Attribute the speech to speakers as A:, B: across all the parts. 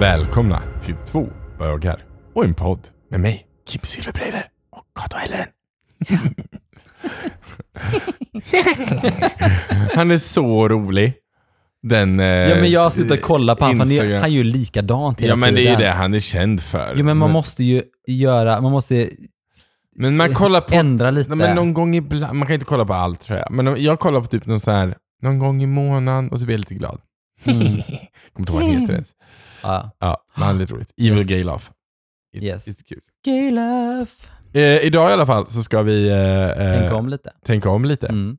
A: Välkomna till två bögar och en podd med mig, Kim Silverbreider och Kato Helleren. Han är så rolig. Den... eh,
B: Ja men jag sitter och kollar på honom, för han är ju-
A: Instagram.
B: han är ju likadant hela
A: Ja men det är
B: tiden.
A: ju det han är känd för.
B: Jo men man måste ju göra, man måste
A: men man kollar på...
B: ändra lite.
A: Nej, men någon gång ibland. Man kan inte kolla på allt tror jag. Men om- jag kollar på typ någon så här, någon gång i månaden och så blir jag lite glad.
B: Mm.
A: Kommer inte ihåg vad han heter ens.
B: Ja.
A: Ja, men han är lite roligt. Evil
B: Yes.
A: Gay Love. It's,
B: Yes.
A: it's cute.
B: Gay love.
A: Eh, idag i alla fall så ska vi eh,
B: Tänk
A: eh,
B: om lite.
A: tänka om lite.
B: Mm.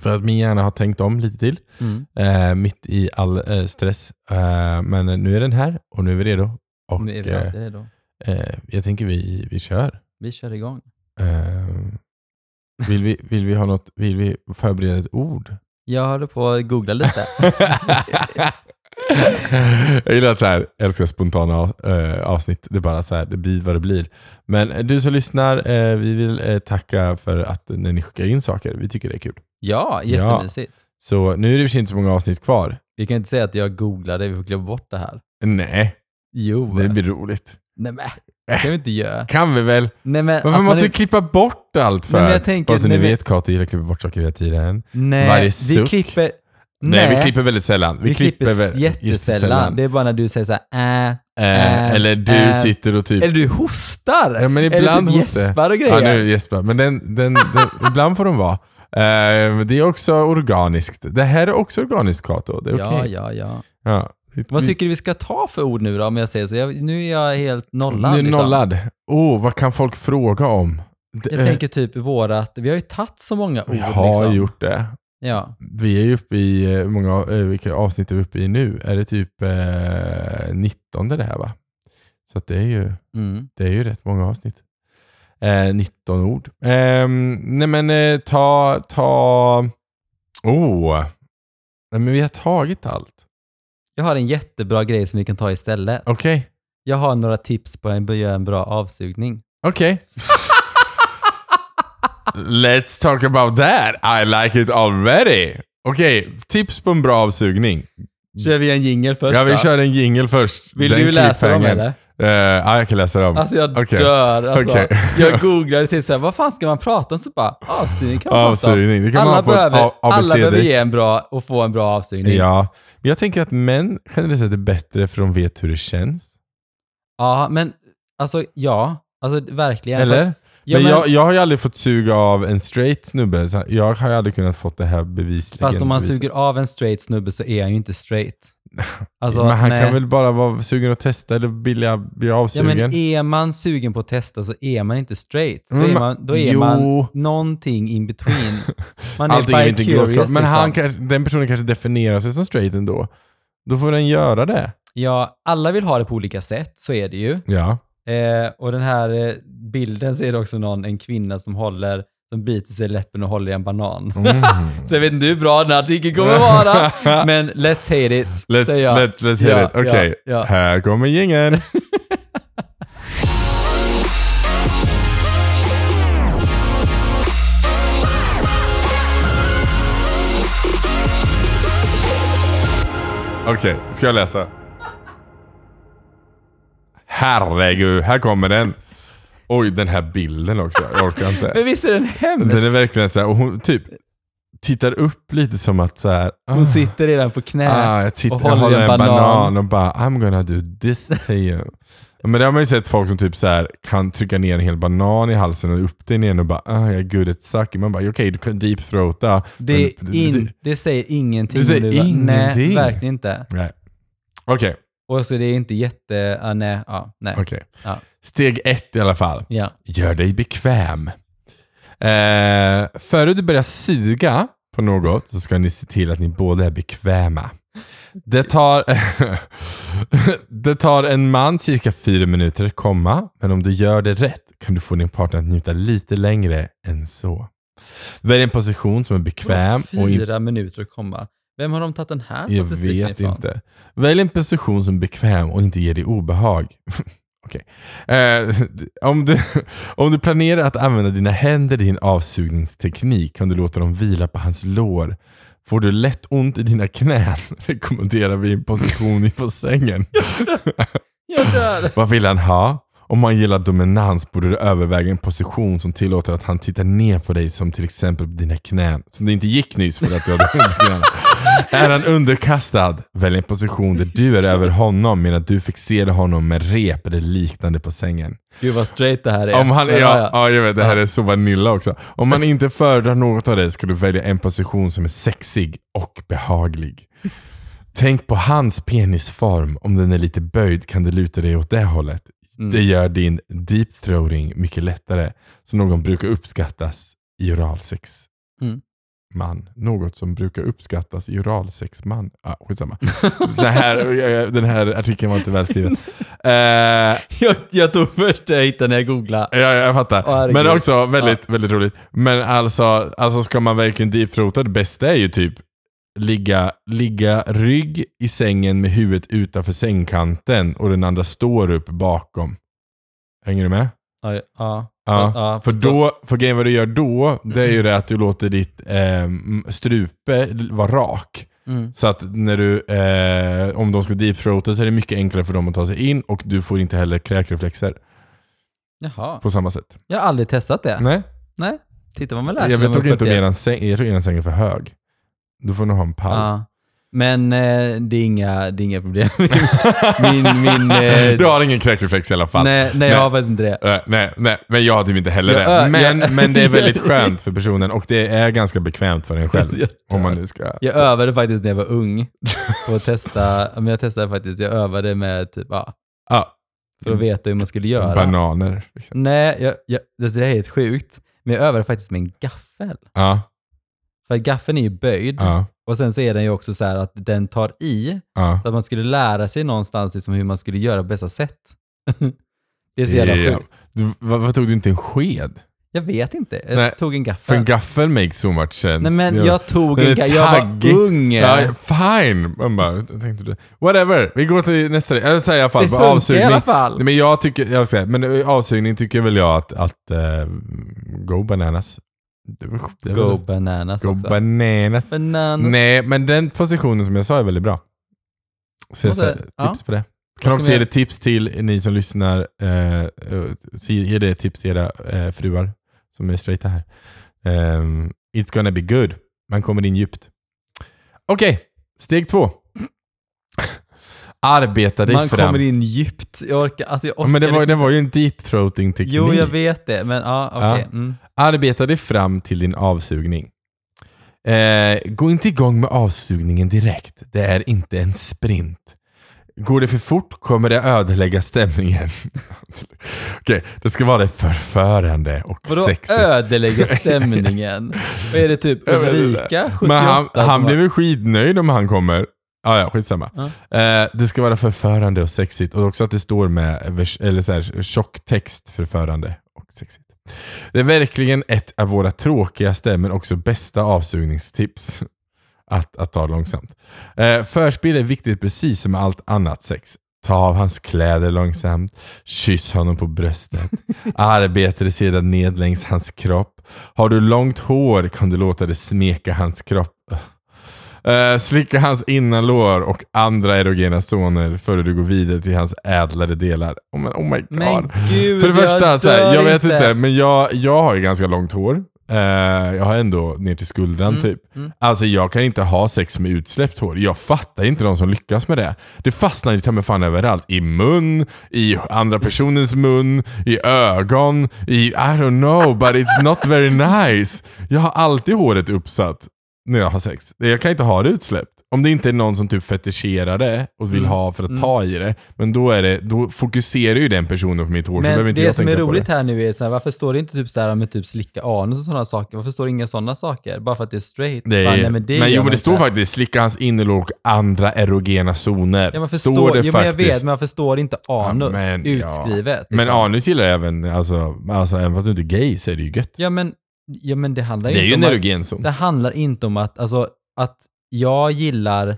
A: För att min hjärna har tänkt om lite till.
B: Mm.
A: Eh, mitt i all eh, stress. Eh, men nu är den här och nu är vi redo. Och
B: Nu är vi
A: eh,
B: alltid redo.
A: eh, jag tänker vi, vi kör.
B: Vi kör igång.
A: Eh, vill, vi, vill vi ha något, vill vi förbereda ett ord?
B: Jag håller på att googla lite.
A: jag gillar att så här, jag älskar spontana eh, avsnitt. Det är bara så här, det blir vad det blir. Men eh, du som lyssnar, eh, vi vill eh, tacka för att när ni skickar in saker. Vi tycker det är kul.
B: ja, jättemysigt.
A: Så nu är det i och för sig inte så många avsnitt kvar.
B: Vi kan inte säga att jag googlade, vi får glömma bort det här.
A: Nej,
B: Jo.
A: det blir roligt.
B: Nej men, det kan vi inte göra.
A: Kan vi väl?
B: Nej men,
A: Varför
B: att man
A: måste vi
B: inte-
A: klippa bort allt för?
B: Nej, men jag tänker-
A: Bara så ni
B: nej, men-
A: vet, Kato gillar att klippa bort saker hela tiden.
B: Nej,
A: varje
B: vi
A: suck?
B: klipper...
A: Nej, vi klipper väldigt sällan.
B: vi klipper
A: väl-
B: jättesällan. Det är bara när du säger så här, äh,
A: Eh,
B: äh,
A: eller du
B: äh.
A: sitter och typ
B: Eller du hostar!
A: Ja, men ibland
B: eller typ
A: hostar jag.
B: gäspar och
A: Ja,
B: grejer.
A: nu Jesper. Men den, den, den, ibland får de vara. Eh, det är också organiskt. Det här är också organiskt, Kato. Det är okej. Mm.
B: ja, ja, ja.
A: Ja.
B: Vad tycker du vi ska ta för ord nu då, om jag säger så? Jag, nu är jag helt nollad.
A: du? Nu
B: liksom.
A: nollad. Oh, vad kan folk fråga om? Det-
B: Jag
A: eh,
B: tänker typ vårat, vi har ju tagit så många ord
A: vi har
B: liksom.
A: gjort det.
B: Ja.
A: Vi är ju uppe i, eh, hur många, eh, vilka avsnitt är vi uppe i nu? Är det typ eh, 19 det här va? Så att det är ju...
B: Mm.
A: Det är ju rätt många avsnitt. Eh, 19 ord. Ehm, nej men eh, ta, ta... Oh. Nej men vi har tagit allt.
B: Jag har en jättebra grej som vi kan ta istället.
A: Okej.
B: Jag har några tips på att göra en bra avsugning.
A: Okej. Let's talk about that. I like it already. Okej, tips på en bra avsugning.
B: Kör vi en jingel först
A: ja, vi
B: då?
A: kör en jingle först.
B: Vill
A: Den
B: du läsa dem
A: cliffhangern.
B: eller?
A: Eh, ja, jag kan läsa dem.
B: Alltså jag
A: Okej.
B: dör alltså.
A: Okej.
B: Jag googlade till såhär, vad fan ska man prata om? Så bara, avsugning kan man prata om.
A: avsugning. Det kan man
B: Alla
A: ha på ett
B: behöver,
A: A-
B: alla behöver
A: ABCD.
B: ge en bra och få en bra avsugning. Ja.
A: Ja, men jag tänker att män generellt sett är bättre för de vet hur det känns.
B: men alltså ja. Alltså verkligen.
A: Eller?
B: Ja,
A: men
B: men-
A: jag, jag har ju aldrig fått sug av en straight snubbe. Så jag har ju aldrig kunnat få det här bevisligen.
B: Fast om man
A: bevisat.
B: suger av en straight snubbe så är han ju inte straight. Alltså,
A: men han
B: nej.
A: kan väl bara vara sugen att testa eller vilja bli
B: Ja
A: avsugen?
B: men är man sugen på att testa så är man inte straight. Då
A: Mm,
B: är man, då är
A: jo.
B: man någonting in between. Man är
A: Allting är inte
B: bi curious
A: gråskap.
B: liksom.
A: Men han kanske, den personen kanske definierar sig som straight ändå. Då får den göra det.
B: Ja, alla vill ha det på olika sätt, så är det ju.
A: Ja.
B: Eh, och den här eh, bilden ser det också någon, en kvinna som håller, som biter sig i läppen och håller i en banan.
A: Mm.
B: Så jag vet inte hur bra den här artikeln kommer vara, men let's hate it,
A: Let's,
B: säger jag.
A: let's, let's hear
B: Ja,
A: it. Okej,
B: ja, ja.
A: här kommer jingeln. Okej, ska jag läsa? Herregud, här kommer den. Oj, den här bilden också. Jag orkar inte.
B: Men visst är den hemsk?
A: Den är verkligen så här, och hon typ tittar upp lite som att så här. ah.
B: Hon sitter redan på knä.
A: Ah, jag, tittar,
B: Eh, och
A: jag
B: håller
A: håller
B: en
A: en banan.
B: banan
A: och bara I'm gonna do this to you. Men det har man ju sett folk som typ så här kan trycka ner en hel banan i halsen och upp den igen och bara ah, you're good at sucking. Man bara okej, du kan deep throata.
B: det,
A: Men-
B: är in, det säger ingenting.
A: Det säger
B: om du bara, Nej,
A: ingenting.
B: verkligen inte.
A: Nej. Okej,
B: Och så det är inte jätte... Ah, nej, ja, nej.
A: okej.
B: Ja.
A: Steg ett i alla fall.
B: Ja.
A: Gör dig bekväm. Eh, före du börjar suga på något så ska ni se till att ni båda är bekväma. Det tar, det tar en man cirka fyra minuter att komma, men om du gör det rätt kan du få din partner att njuta lite längre än så. Välj en position som är bekväm och inte...
B: Fyra minuter att komma. Vem har de tagit den här
A: Jag
B: statistiken
A: vet
B: ifrån?
A: inte. Välj en position som är bekväm och inte ger dig obehag. Okej. Eh, om, du, om du planerar att använda dina händer i din avsugningsteknik kan du låta dem vila på hans lår Får du lätt ont i dina knän rekommenderar vi en position i bassängen.
B: Jag dör!
A: Vad vill han ha? Om man gillar dominans borde du överväga en position som tillåter att han tittar ner på dig som till exempel på dina knän. Som det inte gick nyss för att du hade ont i knäna. Är han underkastad? Välj en position där du är över honom medan du fixerar honom med rep eller liknande på sängen.
B: Gud vad straight det här är.
A: Om han, ja,
B: Men,
A: ja. jag vet, det här är så vanilla också. Om man inte föredrar något av det ska du välja en position som är sexig och behaglig. Tänk på hans penisform. Om den är lite böjd kan du luta dig åt det hållet.
B: Mm.
A: Det gör din deep throating mycket lättare. Så någon brukar uppskattas i oralsex.
B: Mm.
A: Man. Något som brukar uppskattas i oralsexman. Ah, skitsamma. den, här, den här artikeln var inte välskriven. Eh,
B: Jag, jag tog först det jag hittade när jag googlade.
A: Ja, jag fattar.
B: Åh, herregud.
A: men också väldigt, väldigt roligt. Men alltså, alltså ska man verkligen deepthroata, det bästa är ju typ ligga, ligga rygg i sängen med huvudet utanför sängkanten och den andra står upp bakom. Hänger du med?
B: Ja, ja. ja.
A: Ja.
B: ja,
A: För
B: förstå-
A: då, för grejen vad du gör då, det är ju det att du låter ditt eh, strupe vara rak.
B: Mm.
A: Så att när du, eh, om de ska deepthroata så är det mycket enklare för dem att ta sig in och du får inte heller kräkreflexer
B: Jaha.
A: på samma sätt.
B: Jag har aldrig testat det.
A: Nej.
B: Nej. Titta vad man lär
A: Mm.
B: sig.
A: Jag
B: när
A: vet
B: man
A: dock
B: är
A: inte om
B: 41.
A: eran säng, jag tror eran säng är för hög. Du får nog ha en pall.
B: Ja. Men eh, det, är inga, det är inga problem. min, min, eh,
A: Du har ingen kräkreflex i alla fall. Nej.
B: nej, nej, jag har faktiskt inte det.
A: nej, nej, men jag har typ inte heller
B: Jag-
A: det.
B: äh,
A: Men,
B: jag-
A: men det är väldigt skönt för personen och det är ganska bekvämt för en själv.
B: Alltså, jag
A: Om man nu ska...
B: Jag
A: så-
B: övade faktiskt när jag var ung. På att testa, men jag testade faktiskt, jag övade med typ, ja,
A: Ja,
B: för att veta hur man skulle göra.
A: bananer. Liksom.
B: Nej, jag, jag, det det här är helt sjukt. Men jag övade faktiskt med en gaffel.
A: Ja,
B: För att gaffeln är ju böjd
A: ja,
B: och sen så är den ju också så här att den tar i.
A: ja.
B: Så att man skulle lära sig någonstans liksom hur man skulle göra på bästa sätt. det är så jävla
A: Ja.
B: sjukt.
A: Du, vad, vad tog du inte en sked?
B: Jag vet inte. Jag
A: Nej,
B: tog en
A: För
B: gaffel.
A: en gaffel makes so much sense.
B: Nej men jag tog
A: Den är
B: en gaffel. Jag
A: taggig.
B: var ung.
A: Ja, fine! Man bara, jag tänkte det. Whatever, vi går till nästa. Eller så här i alla fall,
B: det
A: på
B: funkar i alla
A: avsugning.
B: fall.
A: Nej, men jag tycker, jag säga, men eh, avsugning tycker väl jag att, att eh, go bananas. Det var, det var-
B: Go bananas
A: go
B: också.
A: bananas.
B: bananas.
A: Nej, men den positionen som jag sa är väldigt bra. Så jag
B: Och så-
A: säger tips
B: ja.
A: på det. Kan
B: Vad ska
A: också ge
B: vi-
A: det tips till ni som lyssnar. Eh, eh, se- ge det tips till era eh, fruar som är straighta här. Ehm, it's gonna be good. Man kommer in djupt. Okej, steg två. Arbeta dig
B: Man
A: fram.
B: kommer in djupt. Jag orkar, alltså jag
A: Ja,
B: orkar
A: men det var,
B: liksom-
A: det var ju en deep throating teknik.
B: Jo, jag vet det. Men ja, okej.
A: Ja.
B: Mm.
A: Arbeta dig fram till din avsugning. Eh, gå inte igång med avsugningen direkt. Det är inte en sprint. Går det för fort kommer det ödelägga stämningen. Okej, det ska vara förförande och
B: Vadå
A: sexigt.
B: ödelägga stämningen? Vad är det typ
A: Jag vet inte.
B: Ulrika, 78?
A: Men han,
B: som
A: han
B: har-
A: blir väl skitnöjd om han kommer. Ah, ja, skitsamma. Eh, det ska vara förförande och sexigt. Och också att det står med vers, eller så här, tjock text förförande och sexigt. Det är verkligen ett av våra tråkigaste men också bästa avsugningstips. Att, att ta långsamt. Eh, förspel är viktigt precis som med allt annat sex. Ta av hans kläder långsamt, kyss honom på bröstet, arbeta dig sedan ned längs hans kropp. Har du långt hår kan du låta det smeka hans kropp. Eh, slicka hans innanlår och andra erogena zoner före du går vidare till hans ädlare delar. Oh, men, oh my god.
B: Men gud,
A: För det första,
B: jag,
A: så här,
B: dör
A: jag vet inte, men jag, jag har ju ganska långt hår. Eh, jag har ändå ner till skuldran
B: Mm,
A: typ. Alltså jag kan inte ha sex med utsläppt hår. Jag fattar inte de som lyckas med det. Det fastnar ju ta mig fan överallt. I mun, i andra personens mun, i ögon, i I don't know but it's not very nice. Jag har alltid håret uppsatt när jag har sex. Jag kan inte ha det utsläppt. Om det inte är någon som typ fetischerar det och
B: Mm.
A: vill ha för att ta i det. Men då, är det, då fokuserar ju den personen på mitt hår. så behöver
B: Men
A: inte
B: det
A: jag
B: som är
A: tänka på
B: roligt
A: det.
B: här nu är så här, varför står det inte typ så här med typ slicka anus och sådana saker? Varför står det inga sådana saker? Bara för att det är straight?
A: Det är,
B: Bara, nej,
A: men
B: det gör
A: jo, men
B: man
A: det står
B: inte.
A: faktiskt slicka hans innerlår och andra erogena zoner.
B: Ja, man förstår,
A: står det
B: jo, men jag
A: faktiskt.
B: vet, men varför står det inte anus
A: men, ja.
B: utskrivet?
A: men
B: liksom?
A: anus gillar jag även, alltså, alltså även fast du inte är gay så är det ju gött.
B: Ja, men, ja, men det handlar
A: Det är
B: inte
A: ju
B: om
A: en
B: att-
A: erogen zon.
B: Det handlar inte om att, alltså, att jag gillar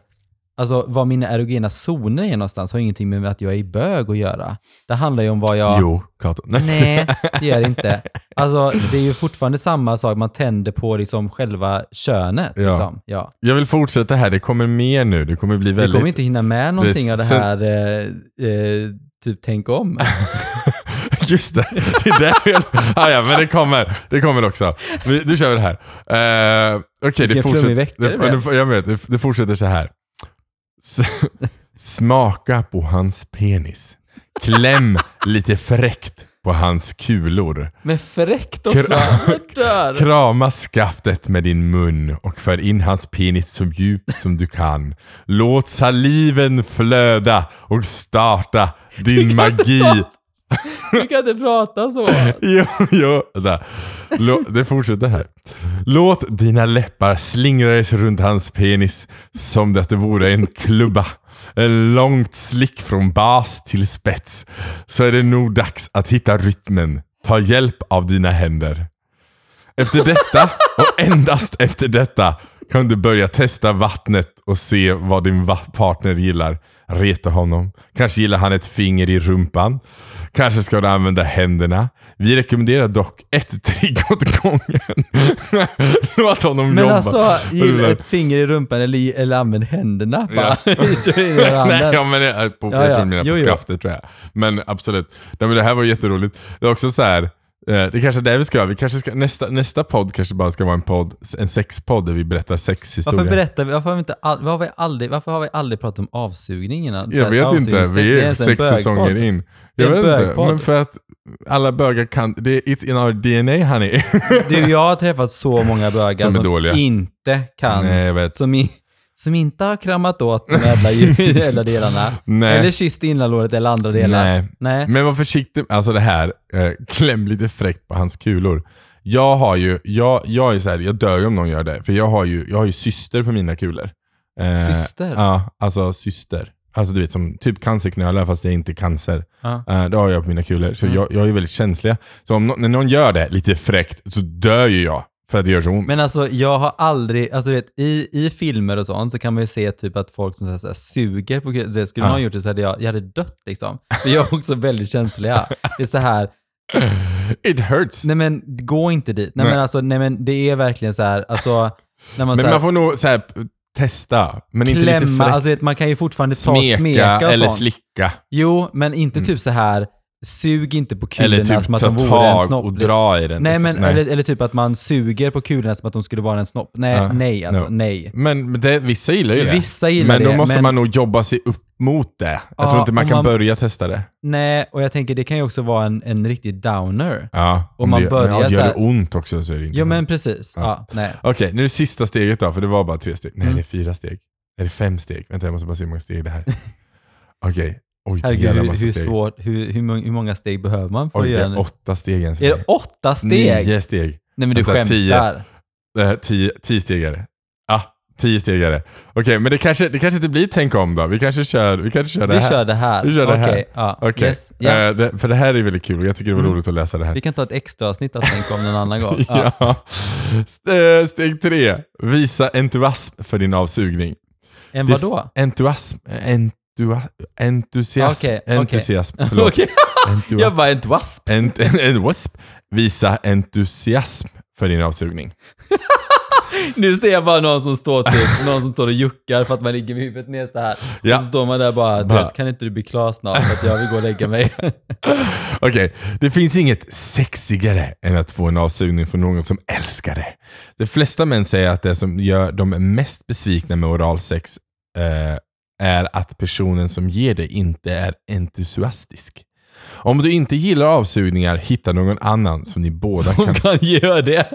B: Alltså var mina erogena zoner är någonstans har ingenting med att jag är bög att göra. Det handlar ju om vad jag...
A: Jo, Kato. Nej,
B: Nej, det gör det inte. Alltså det är ju fortfarande samma sak, man tänder på liksom själva könet.
A: Ja.
B: Ja. Liksom. Ja.
A: Jag vill fortsätta här. Det kommer mer nu. Det kommer bli
B: Vi
A: väldigt...
B: kommer inte hinna med någonting av det
A: Sen-
B: här, eh, eh, typ tänk om.
A: Just det. det är där jag... ah, ja, men det kommer. Det kommer också. Vi, nu kör vi det här. Eh, Okej, det
B: Vilken
A: fortsätter.
B: flummig vecka det
A: det, det, jag vet, det, det fortsätter så här. S- Smaka på hans penis. Kläm lite fräckt på hans kulor.
B: Men fräckt också,
A: Kra-
B: jag dör.
A: Krama skaftet med din mun och för in hans penis så djupt som du kan. Låt saliven flöda och starta din magi.
B: Du kan inte prata så.
A: Jo, jo. Vänta. Lå, det fortsätter här. Låt dina läppar slingras runt hans penis som det att det vore en klubba. En långt slick från bas till spets. Så är det nog dags att hitta rytmen. Ta hjälp av dina händer. Efter detta, och endast efter detta, kan du börja testa vattnet och se vad din va- partner gillar. Reta honom. Kanske gillar han ett finger i rumpan. Kanske ska du använda händerna. Vi rekommenderar dock ett trigg åt gången. Låt honom
B: Men
A: jobba.
B: alltså, gilla
A: Rullar.
B: ett finger i rumpan eller, eller använd händerna. Bara. Kör in i
A: Nej,
B: handen.
A: ja, men det, på,
B: Ja,
A: jag
B: ja.
A: tror mina på
B: Jo, jo.
A: skaftet tror jag. Men absolut. Nej, men det här var jätteroligt. Det är också så här. eh, Det är kanske är det vi ska göra. Vi kanske ska, nästa, nästa podd kanske bara ska vara en podd, en sexpodd där vi berättar sexhistorier.
B: Varför berättar vi, varför har vi, inte all, varför har vi, aldrig, varför har vi aldrig pratat om avsugning innan? Så
A: jag
B: här,
A: vet inte,
B: avsugningstecken,
A: vi
B: det
A: är
B: ens en
A: sex säsonger
B: bögpodd.
A: in.
B: Det är
A: Jag
B: en
A: vet inte,
B: bögpodd.
A: men för att alla bögar kan, det är it's in our DNA honey.
B: Du, jag har träffat så många bögar
A: Som
B: som,
A: är dåliga.
B: inte kan,
A: Nej, jag vet.
B: som, i, som inte har kramat åt de jävla, djur- jävla delarna.
A: Nej.
B: Eller kysst innanlåret eller andra delar.
A: Nej.
B: Nej.
A: Men var försiktig, alltså det här, eh, kläm lite fräckt på hans kulor. Jag har ju, jag, jag är så här, jag dör ju om någon gör det, för jag har ju, jag har ju syster på mina kulor. Eh,
B: Syster?
A: Ja, alltså syster. Alltså du vet, som typ cancerknölar fast det är inte cancer.
B: Ja. Mm.
A: Eh, det har jag på mina kulor, så jag, jag är ju väldigt känsliga. Så om nå- när någon gör det lite fräckt så dör ju jag för att det gör så ont.
B: Men alltså jag har aldrig, alltså du vet, i, i filmer och sånt så kan man ju se typ att folk som så här, så här, suger på kul- så här, Skulle
A: Ja.
B: någon gjort det så hade jag, jag hade dött liksom. För jag är också väldigt känsliga. Det är så här,
A: It hurts.
B: nej men gå inte dit. Nej,
A: Nej.
B: men alltså, nej men det är verkligen så här, alltså när
A: men
B: man, så här,
A: man får nog så här, eh, testa, men inte lite
B: klämma,
A: fräckt.
B: alltså du vet, man kan ju fortfarande ta
A: smeka,
B: och smeka och
A: eller
B: sånt.
A: slicka.
B: Jo, men inte typ så här, sug inte på kulorna
A: Mm. Eller typ
B: som att
A: ta
B: de vore en
A: tag
B: snopp.
A: och dra i den.
B: Nej,
A: liksom.
B: men, Eller, eller typ att man suger på kulorna som att de skulle vara en snopp. Nej,
A: Ja,
B: nej alltså,
A: no.
B: nej.
A: Men men det, vissa gillar ju det.
B: Vissa gillar
A: men då
B: det,
A: måste
B: men-
A: man nog jobba sig upp mot det. Jag
B: Ja,
A: tror inte man
B: om
A: kan
B: man-
A: börja testa det.
B: Nej, och jag tänker det kan ju också vara en, en riktig downer.
A: Ja,
B: Om man
A: det,
B: börjar
A: men, ja,
B: så
A: Gör det
B: här-
A: ont också så är det inte
B: Jo
A: bra.
B: men precis. Ja. nej.
A: Okej, nu är det sista steget då, för det var bara tre steg. Nej,
B: Mm.
A: det är fyra steg. Är det fem steg? Vänta, jag måste bara se hur många steg det här är. Okej. Oj, det är en
B: Herregud,
A: jävla
B: hur,
A: massa
B: hur
A: steg.
B: svårt, hur, hur, mång- hur många steg behöver man för
A: Oj,
B: att
A: det
B: göra en...
A: är åtta steg än.
B: Är det åtta steg?
A: Nio steg.
B: Nej men du
A: Vänta, tio.
B: skämtar.
A: Eh, tio, tio stegare. Ah, tio stegare. Okej, men det kanske, det kanske inte blir tänk om då. Vi kanske kör, vi kanske kör det
B: Vi
A: här.
B: kör det här.
A: Vi kör det här.
B: Okej, ja.
A: Okej,
B: Yes. Ja. Mm.
A: Eh, det, för det här är väldigt kul och jag tycker det var roligt att läsa det här.
B: Vi kan ta ett extra avsnitt att tänka om någon annan gång. Ja.
A: Ja. St- eh, Steg tre. Visa entusiasm för din avsugning.
B: En
A: Det-
B: vadå?
A: Entusiasm. Entua, entusiasm.
B: Okej, okej.
A: Entusiasm. Förlåt.
B: Okej,
A: Entusiasm.
B: jag bara ett wasp.
A: Ent, en, en wasp. Visa entusiasm för din avsugning.
B: Nu ser jag bara någon som står typ, någon som står och juckar för att man ligger med huvudet ner så här.
A: Ja.
B: Och så står man där bara, du
A: Bara-
B: vet, kan inte du bli klar snart för att jag vill gå och lägga mig?
A: Okej, det finns inget sexigare än att få en avsugning från någon som älskar det. De flesta män säger att det som gör dem mest besvikna med oralsex eh, är att personen som ger det inte är entusiastisk. Om du inte gillar avsugningar, hitta någon annan som ni båda
B: Hon
A: kan...
B: kan göra det.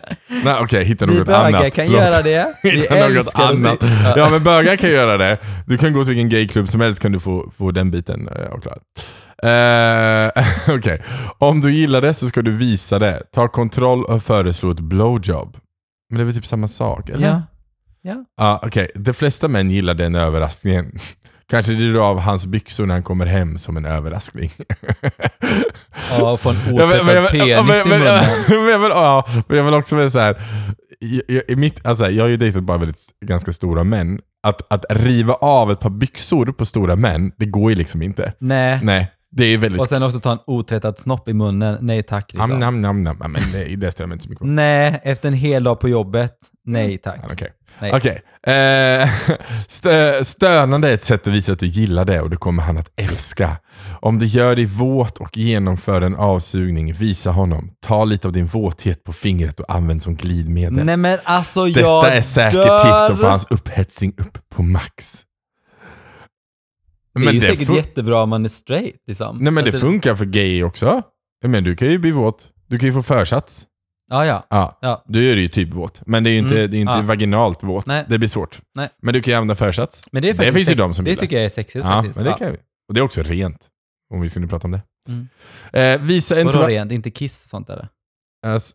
A: Nej, okej, hitta
B: Vi
A: något
B: bögar
A: annat.
B: kan
A: Förlåt.
B: göra det. Vi
A: Hitta något
B: älskar att se-
A: annat. Ja, men bögar kan göra det. Du kan gå till vilken gayklubb som helst kan du få, få den biten eh, avklarad. Eh, Okej, om du gillar det så ska du visa det. Ta kontroll och föreslå ett blowjob. Men det är väl typ samma sak? Eller?
B: Ja.
A: Ja, Okej, de flesta män gillar den överraskningen. Kanske du av hans byxor när han kommer hem som en överraskning.
B: Ja, och få en
A: Ja, men- men-
B: otäppt
A: men-
B: penis i
A: men-
B: munnen.
A: men jag vill- ja, men jag vill också vara så här. Jag, jag, i mitt, alltså, jag har ju dejtat bara väldigt, ganska stora män. att, att riva av ett par byxor på stora män, det går ju liksom inte.
B: Nej.
A: Nej, det är väldigt...
B: Och sen också ta en otvättad snopp i munnen. Nej tack. Liksom.
A: Am, nam, nam, nam. Ja, Men det, det stämmer inte så mycket
B: Mm.
A: på.
B: Nej, efter en hel dag på jobbet. Nej tack.
A: Ja, Okej.
B: Nej.
A: Okej. Eh, stö, stönande är ett sätt att visa att du gillar det och det kommer han att älska. Om du gör dig våt och genomför en avsugning, visa honom. Ta lite av din våthet på fingret och använd som glidmedel.
B: Nej men alltså jag
A: Detta är säkert
B: dör.
A: tips som får hans upphetsning upp på max.
B: Det är ju
A: Men det,
B: säkert
A: fun-
B: jättebra om man är straight. Liksom.
A: Nej, men
B: Så
A: det
B: att
A: funkar för gay också. Men du kan ju bli våt. Du kan ju få försats.
B: Ja, ja.
A: Ja.
B: Ja.
A: Då är det ju typ våt. Men det är ju inte,
B: Mm.
A: det är inte
B: Ja.
A: vaginalt våt.
B: Nej.
A: Det blir svårt.
B: Nej.
A: Men du kan ju använda försats.
B: Men det, är
A: Det
B: faktiskt
A: finns ju
B: sex-
A: de som
B: Det
A: gillar.
B: tycker jag är sexigt
A: Ja,
B: faktiskt.
A: men det
B: Ja.
A: kan vi. Och det är också rent. Om vi skulle prata om det.
B: Mm.
A: Eh, visa en
B: Vadå
A: toalett...
B: rent? Inte kiss och sånt där?
A: Alltså,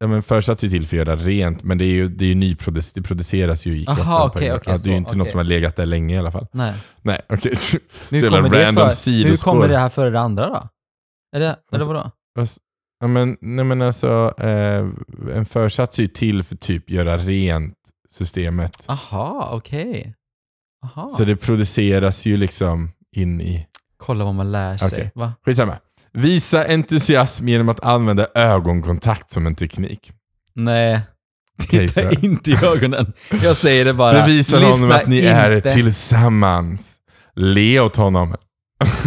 A: ja, men försats är ju till för att göra rent, men det, är ju, det, är ju nyproduc- det produceras ju i
B: Aha,
A: kroppen. på
B: okej,
A: en-
B: okej,
A: ja, det är ju
B: så,
A: inte något
B: okej.
A: som har legat där länge i alla fall.
B: Nej.
A: Nej, okej. Så, så
B: Nu
A: jävla
B: kommer, det
A: random
B: för, nu
A: sidospår.
B: kommer det här före det andra då? Är det, eller
A: Alltså-
B: vadå?
A: Alltså, ja, men, nej men alltså, eh, en försats är ju till för typ göra rent systemet.
B: Aha, okej. Aha.
A: Så det produceras ju liksom in i...
B: Kolla vad man lär sig.
A: Okej.
B: Va?
A: Skitsamma. Visa entusiasm genom att använda ögonkontakt som en teknik.
B: Nej,
A: Tejpa.
B: titta inte i ögonen. Jag säger det bara.
A: Bevisa honom
B: Lyssna
A: att ni
B: inte.
A: är tillsammans. Le åt honom.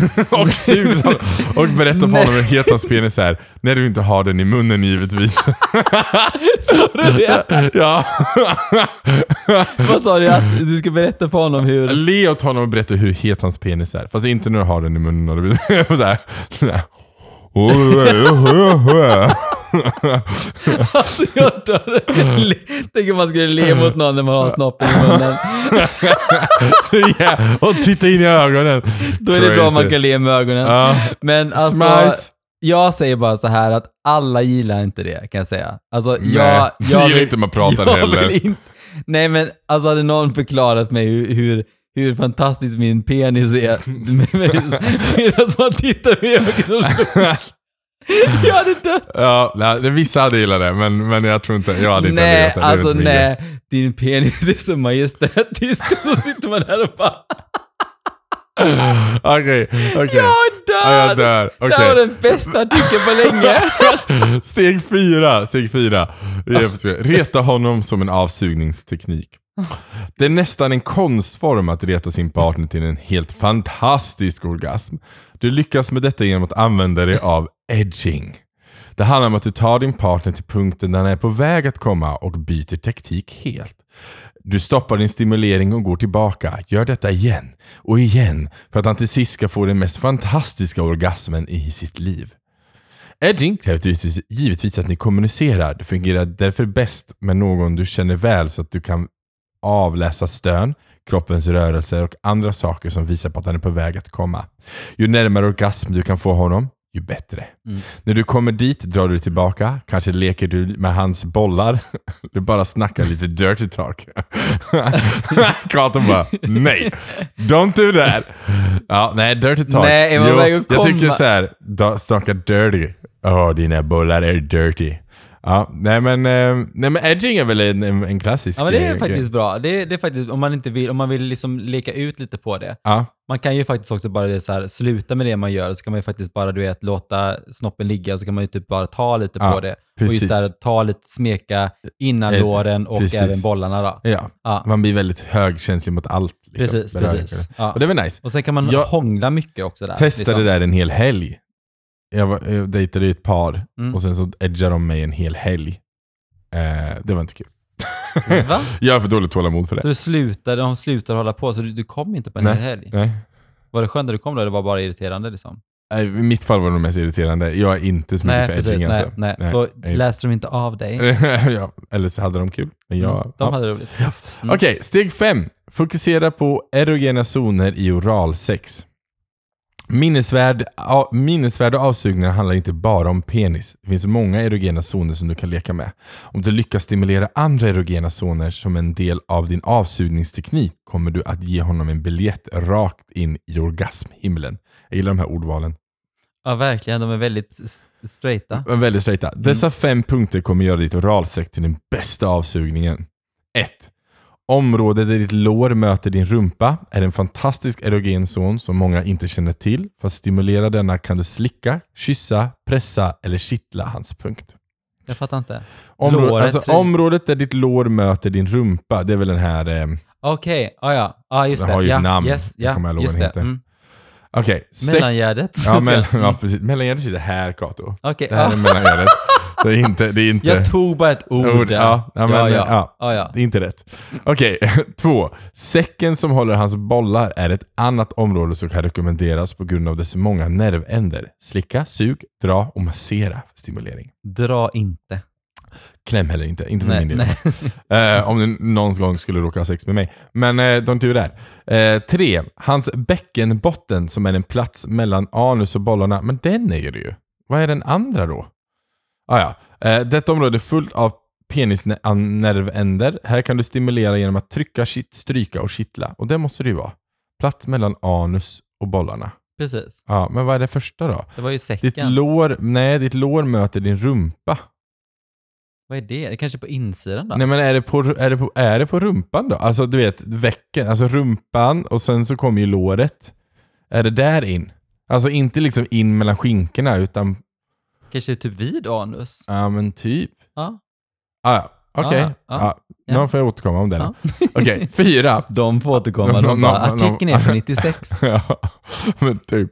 A: och sug åt honom. Och berätta för
B: Nej.
A: honom hur het hans penis är. När du inte har den i munnen givetvis.
B: Står det det?
A: ja.
B: Vad sa du? Att du ska berätta för honom hur...
A: Le åt honom och berätta hur het hans penis är. Fast inte när du har den i munnen och det blir såhär.
B: Alltså jag dör. Tänk om man skulle le mot någon när man har snoppen i munnen.
A: Så jä- och titta in i ögonen.
B: Då är det bra om man
A: Crazy.
B: kan le med ögonen.
A: Ja.
B: Men alltså,
A: Smiles.
B: jag säger bara så här att alla gillar inte det kan jag säga. Alltså,
A: Nej,
B: jag,
A: det
B: jag
A: gillar inte man pratar
B: jag
A: heller.
B: vill inte- nej men alltså hade någon förklarat mig hur, hur, hur fantastisk min penis är medan man tittar med ögonen Jag hade dött.
A: Ja, nej, det- vissa hade gillat det, men, men jag tror inte, jag hade inte
B: Nej,
A: gillat det. det. är
B: alltså
A: inte min grej.
B: nej. Din penis är så majestätisk och så sitter man där och bara
A: Okej, okej.
B: Jag dör!
A: Ja, jag dör.
B: Det här
A: Okej.
B: var den bästa artikeln på länge.
A: Steg fyra, steg fyra. Vi är på steg- Reta honom som en avsugningsteknik. Det är nästan en konstform att reta sin partner till en helt fantastisk orgasm. Du lyckas med detta genom att använda dig av edging. Det handlar om att du tar din partner till punkten där den är på väg att komma och byter taktik helt. Du stoppar din stimulering och går tillbaka. Gör detta igen och igen för att han till sist ska få den mest fantastiska orgasmen i sitt liv. Edging kräver givetvis- givetvis att ni kommunicerar. Det fungerar därför bäst med någon du känner väl så att du kan avläsa stön, kroppens rörelser och andra saker som visar på att han är på väg att komma. Ju närmare orgasm du kan få honom, ju bättre.
B: Mm.
A: När du kommer dit drar du tillbaka, kanske leker du med hans bollar. Du bara snackar lite dirty talk. Katon bara, nej, don't do that. Ja, nej, dirty talk.
B: Nej, är man på väg att
A: jag tycker
B: komma?
A: så här, da- snacka dirty. Åh, dina bollar är dirty. Ja, nej men, eh, nej men edging är väl en, en en klassisk
B: Ja men det är
A: grej.
B: faktiskt bra. Det, det är faktiskt, om man inte vill, om man vill liksom leka ut lite på det.
A: Ja,
B: Man kan ju faktiskt också bara så här, sluta med det man gör, så kan man ju faktiskt bara du vet, låta snoppen ligga, så kan man ju typ bara ta lite
A: Ja,
B: på det. Och
A: precis.
B: just där, ta lite, smeka innan
A: Eh,
B: låren och
A: precis.
B: även bollarna då.
A: ja.
B: Ja,
A: Man blir väldigt högkänslig mot allt. liksom.
B: precis,
A: Beröring.
B: precis. Ja.
A: Och det var nice.
B: Och sen kan man
A: Jag-
B: hångla mycket också där.
A: testade
B: liksom.
A: det där en hel helg. Jag, var, jag dejtade ju ett par
B: Mm.
A: och sen så edgade de mig en hel helg. Eh, det var inte kul.
B: Va?
A: Jag har för dåligt tålamod för det.
B: Så du slutade, de slutade hålla på, så du, du kom inte på en
A: Nej.
B: hel helg?
A: Nej.
B: Var det skönt när du kom då, eller var det bara irriterande liksom?
A: Nej, I mitt fall var det nog mest irriterande. Jag är inte så mycket
B: Nej,
A: för
B: precis.
A: edging
B: Nej,
A: alltså.
B: nej.
A: Nej.
B: Då
A: Nej.
B: läste de inte av dig.
A: ja, eller så hade de kul. Men jag,
B: Mm,
A: ja.
B: De hade roligt. Mm.
A: Okej, steg fem. Fokusera på erogena zoner i oralsex. Minnesvärd, a, minnesvärda avsugningar handlar inte bara om penis. Det finns många erogena zoner som du kan leka med. Om du lyckas stimulera andra erogena zoner som en del av din avsugningsteknik kommer du att ge honom en biljett rakt in i orgasmhimlen. Jag gillar de här ordvalen.
B: Ja, verkligen. De är väldigt s- straighta.
A: Men väldigt straighta.
B: Mm.
A: Dessa fem punkter kommer göra ditt oralsex till den bästa avsugningen. 1. Området där ditt lår möter din rumpa är en fantastisk erogen zon som många inte känner till. För att stimulera denna kan du slicka, kyssa, pressa eller kittla hans punkt.
B: Jag fattar inte.
A: Området,
B: Låret,
A: alltså,
B: tror-
A: området där ditt lår möter din rumpa, det är väl den här... Eh,
B: Okej, ah, ja. Ja, just
A: Den
B: det.
A: har ju
B: ja,
A: ett namn.
B: Yes,
A: Jag
B: ja,
A: kommer ihåg vad
B: just
A: den
B: det.
A: heter.
B: Mm.
A: Okej. sex-
B: Mellangärdet.
A: Ja, men, ja, Eh, precis. Mellangärdet sitter här, Kato.
B: Okej,
A: Det här är
B: ja.
A: mellangärdet. Det är inte... Det är inte...
B: jag tog bara ett ord.
A: Ord, ja. Ja, men,
B: ja, ja.
A: ja.
B: Ja, ja.
A: Det är inte rätt. Okej, två. Säcken som håller hans bollar är ett annat område som kan rekommenderas på grund av dess många nervänder. Slicka, sug, dra och massera för stimulering.
B: Dra inte.
A: Kläm heller inte, inte för
B: Nej,
A: min del. Eh, om du någon gång skulle råka ha sex med mig. Men eh, don't do that. Eh, tre. Hans bäckenbotten som är en plats mellan anus och bollarna. Men den är ju det ju. Vad är den andra då? Ah, ja. eh, detta område är fullt av penisnervänder. Här kan du stimulera genom att trycka, kitt, stryka och kittla. Och det måste det ju vara. Plats mellan anus och bollarna.
B: Precis.
A: Ja, men vad är det första då?
B: Det var ju
A: Ditt
B: säcken.
A: lår, nej, ditt lår möter din rumpa.
B: Vad är det? Det kanske är på insidan då?
A: Nej men är det, på, är, det på, är det på rumpan då? Alltså du vet, väcken, alltså rumpan och sen så kommer ju låret. Är det där in? Alltså inte liksom in mellan skinkorna utan,
B: Kanske är typ vid anus?
A: ja men typ.
B: Ja.
A: Ah, ja, okej.
B: Ah, ah,
A: ja. Någon får jag återkomma om det
B: Ja.
A: då. Okej, fyra.
B: De får återkomma.
A: De-
B: De bara,
A: de- de-
B: artikeln är från 96.
A: ja, men typ.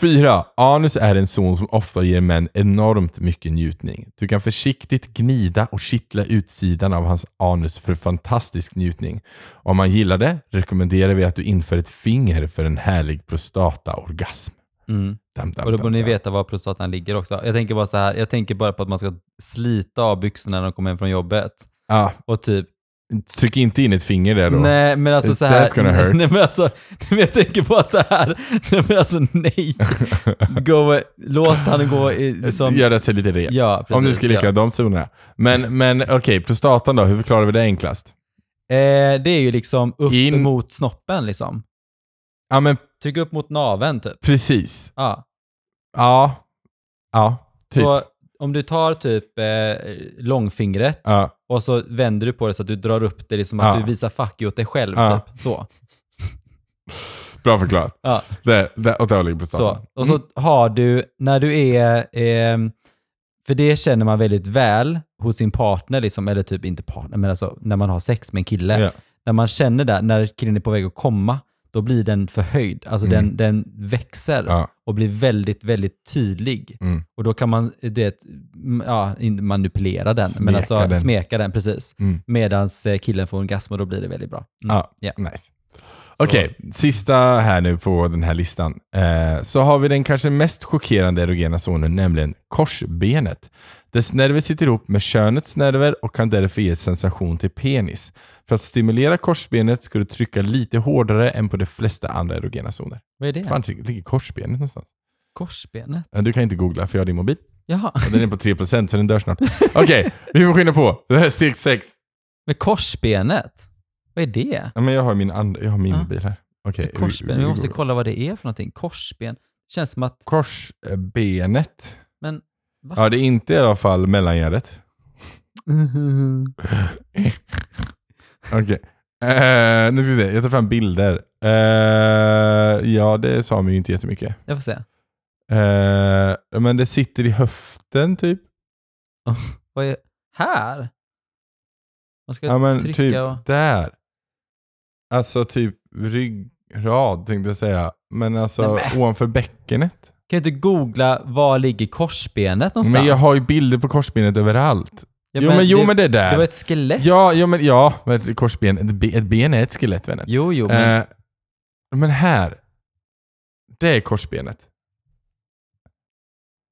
A: Fyra. Anus är en zon som ofta ger män enormt mycket njutning. Du kan försiktigt gnida och kittla utsidan av hans anus för fantastisk njutning. Om man gillar det rekommenderar vi att du inför ett finger för en härlig prostataorgasm.
B: Mm.
A: Dam, dam,
B: Och då
A: dam,
B: borde ni
A: dam.
B: veta var prostatan ligger också. Jag tänker bara så här, jag tänker bara på att man ska slita av byxorna när de kommer hem från jobbet.
A: Ja,
B: Och typ,
A: tryck inte in ett finger där då.
B: nej men alltså
A: It's-
B: så här,
A: that's gonna hurt.
B: nej men alltså, nej, men jag tänker bara så här, nej men alltså nej. Gå, låt han gå i, liksom,
A: Eh, Göra sig lite ren.
B: ja precis.
A: Om du ska lyckas de zonerna. Men, men okej, prostatan då. Hur förklarar vi det enklast?
B: ja. eh, Det är ju liksom upp
A: In-
B: mot snoppen liksom.
A: Ja, men
B: Tryck upp mot naveln typ.
A: precis.
B: Ja.
A: Ja. Ja, typ.
B: Så om du tar typ eh, långfingret
A: Ja.
B: och så vänder du på det så att du drar upp det, liksom att
A: Ja.
B: du visar fuck you åt dig själv.
A: Ja.
B: Typ. Så.
A: Bra förklarat.
B: Ja,
A: Där, där, åt det hållet ligger
B: så.
A: prostatan.
B: Och så har du, när du är, ehm, för det känner man väldigt väl hos sin partner, liksom, eller typ inte partner, men alltså när man har sex med en kille.
A: Ja.
B: När man känner det, när killen är på väg att komma, då blir den förhöjd. Alltså den, den växer
A: Mm. Ja.
B: och blir väldigt, väldigt tydlig.
A: Mm.
B: Och då kan man eh, du vet, m- ja, in- manipulera den, men
A: Smeka
B: alltså
A: den.
B: smeka den precis.
A: Mm.
B: Medan killen får orgasm och då blir det väldigt bra. Mm.
A: Ja,
B: Ja.
A: nice. Okej, sista här nu på den här listan. Eh, så har vi den kanske mest chockerande erogena zonen, nämligen korsbenet. Dess nerver sitter ihop med könets nerver och kan därför ge sensation till penis. För att stimulera korsbenet ska du trycka lite hårdare än på de flesta andra erogena zoner.
B: Vad är det?
A: Fan, ligger korsbenet någonstans?
B: Korsbenet?
A: Eh, Du kan inte googla för jag har din mobil.
B: Jaha.
A: Och Den är på 3% så den dör snart. Okej, vi får skynda på. Det här är steg 6.
B: Men korsbenet? Vad är det?
A: Ja, men jag har min, and- jag har min
B: Ja.
A: mobil här. Okej. vi-
B: Korsben, vi
A: vi
B: måste
A: går-
B: kolla vad det är för någonting. Korsben. Känns som att...
A: Korsbenet.
B: Men, va?
A: Ja, det är inte i alla fall mellangärdet. Okej. Eh, nu ska vi se, jag tar fram bilder. Eh, ja, det sa man ju inte jättemycket.
B: Jag får se.
A: Uh, men det sitter i höften typ.
B: Vad är... Här? Man ska
A: Ja, men
B: trycka
A: typ
B: och...
A: där. Alltså typ ryggrad tänkte jag säga. Men alltså ovanför bäckenet.
B: Kan du inte googla var ligger korsbenet någonstans?
A: Men jag har ju bilder på korsbenet överallt.
B: Ja,
A: jo, men, jo,
B: det,
A: men det är där.
B: det var ett skelett.
A: Ja, ja, men ja. men Ett korsben. Ett, be, ett ben är ett skelett, vännen.
B: Jo, jo, men...
A: Men, eh, men här. Det är korsbenet.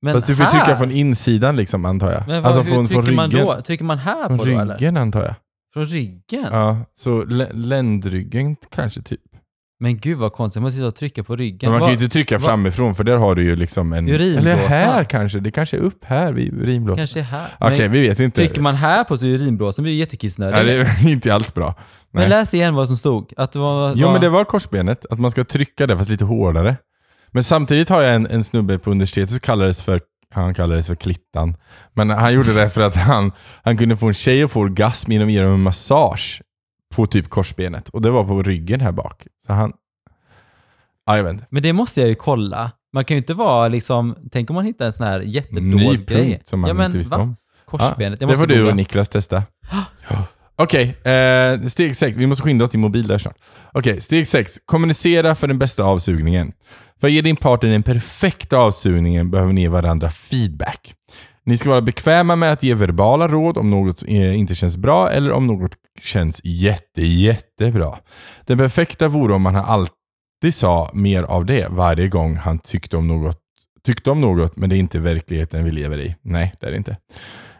B: men
A: Fast du får
B: här?
A: trycka från insidan liksom, antar jag.
B: Men vad,
A: alltså
B: hur
A: från,
B: trycker
A: från ryggen.
B: man då? Trycker man här
A: Från
B: på då eller?
A: ryggen, antar jag.
B: Från ryggen?
A: Ja, så lä- ländryggen kanske, typ.
B: Men gud vad konstigt, man måste sitta och trycka på
A: Men
B: ryggen.
A: man kan ju
B: Vad-
A: inte trycka
B: vad-
A: framifrån, för där har du ju liksom en...
B: Urinblåsa.
A: Eller här kanske. Det kanske är upp här vid urinblåsan.
B: Kanske här.
A: Okej,
B: Men
A: vi vet inte.
B: trycker man här på så är urinblåsan blir ju jättekissnödig.
A: ja, det är inte alls bra. nej.
B: Men läs igen vad som stod. Att det var,
A: Jo
B: var...
A: men det var korsbenet, att man ska trycka det fast lite hårdare. Men samtidigt har jag en, en snubbe på universitetet som kallades för, han kallades för Klittan. Men han gjorde det för att han, han kunde få en tjej att få orgasm genom att ge dem en massage på typ korsbenet. Och det var på ryggen här bak. Så han... Ja, jag vet inte.
B: Men det måste jag ju kolla. Man kan ju inte vara liksom, tänk om man hittar en sån här
A: Ny
B: jättedålig grej.
A: punkt som man
B: ja, men,
A: inte visste
B: va?
A: om.
B: Korsbenet.
A: Ja,
B: Jag
A: det
B: måste
A: får du
B: googla.
A: och Niklas testa. Ja. Okej, eh, steg 6. Vi måste skynda oss till mobil där snart. Okej, steg 6. Kommunicera för den bästa avsugningen. För att ge din partner den perfekta avsugningen behöver ni ge varandra feedback. Ni ska vara bekväma med att ge verbala råd om något eh, inte känns bra eller om något känns jätte, jättebra. Den perfekta vore om man alltid sa mer av det varje gång han tyckte om något, tyckte om något men det är inte verkligheten vi lever i. Nej, det är det inte.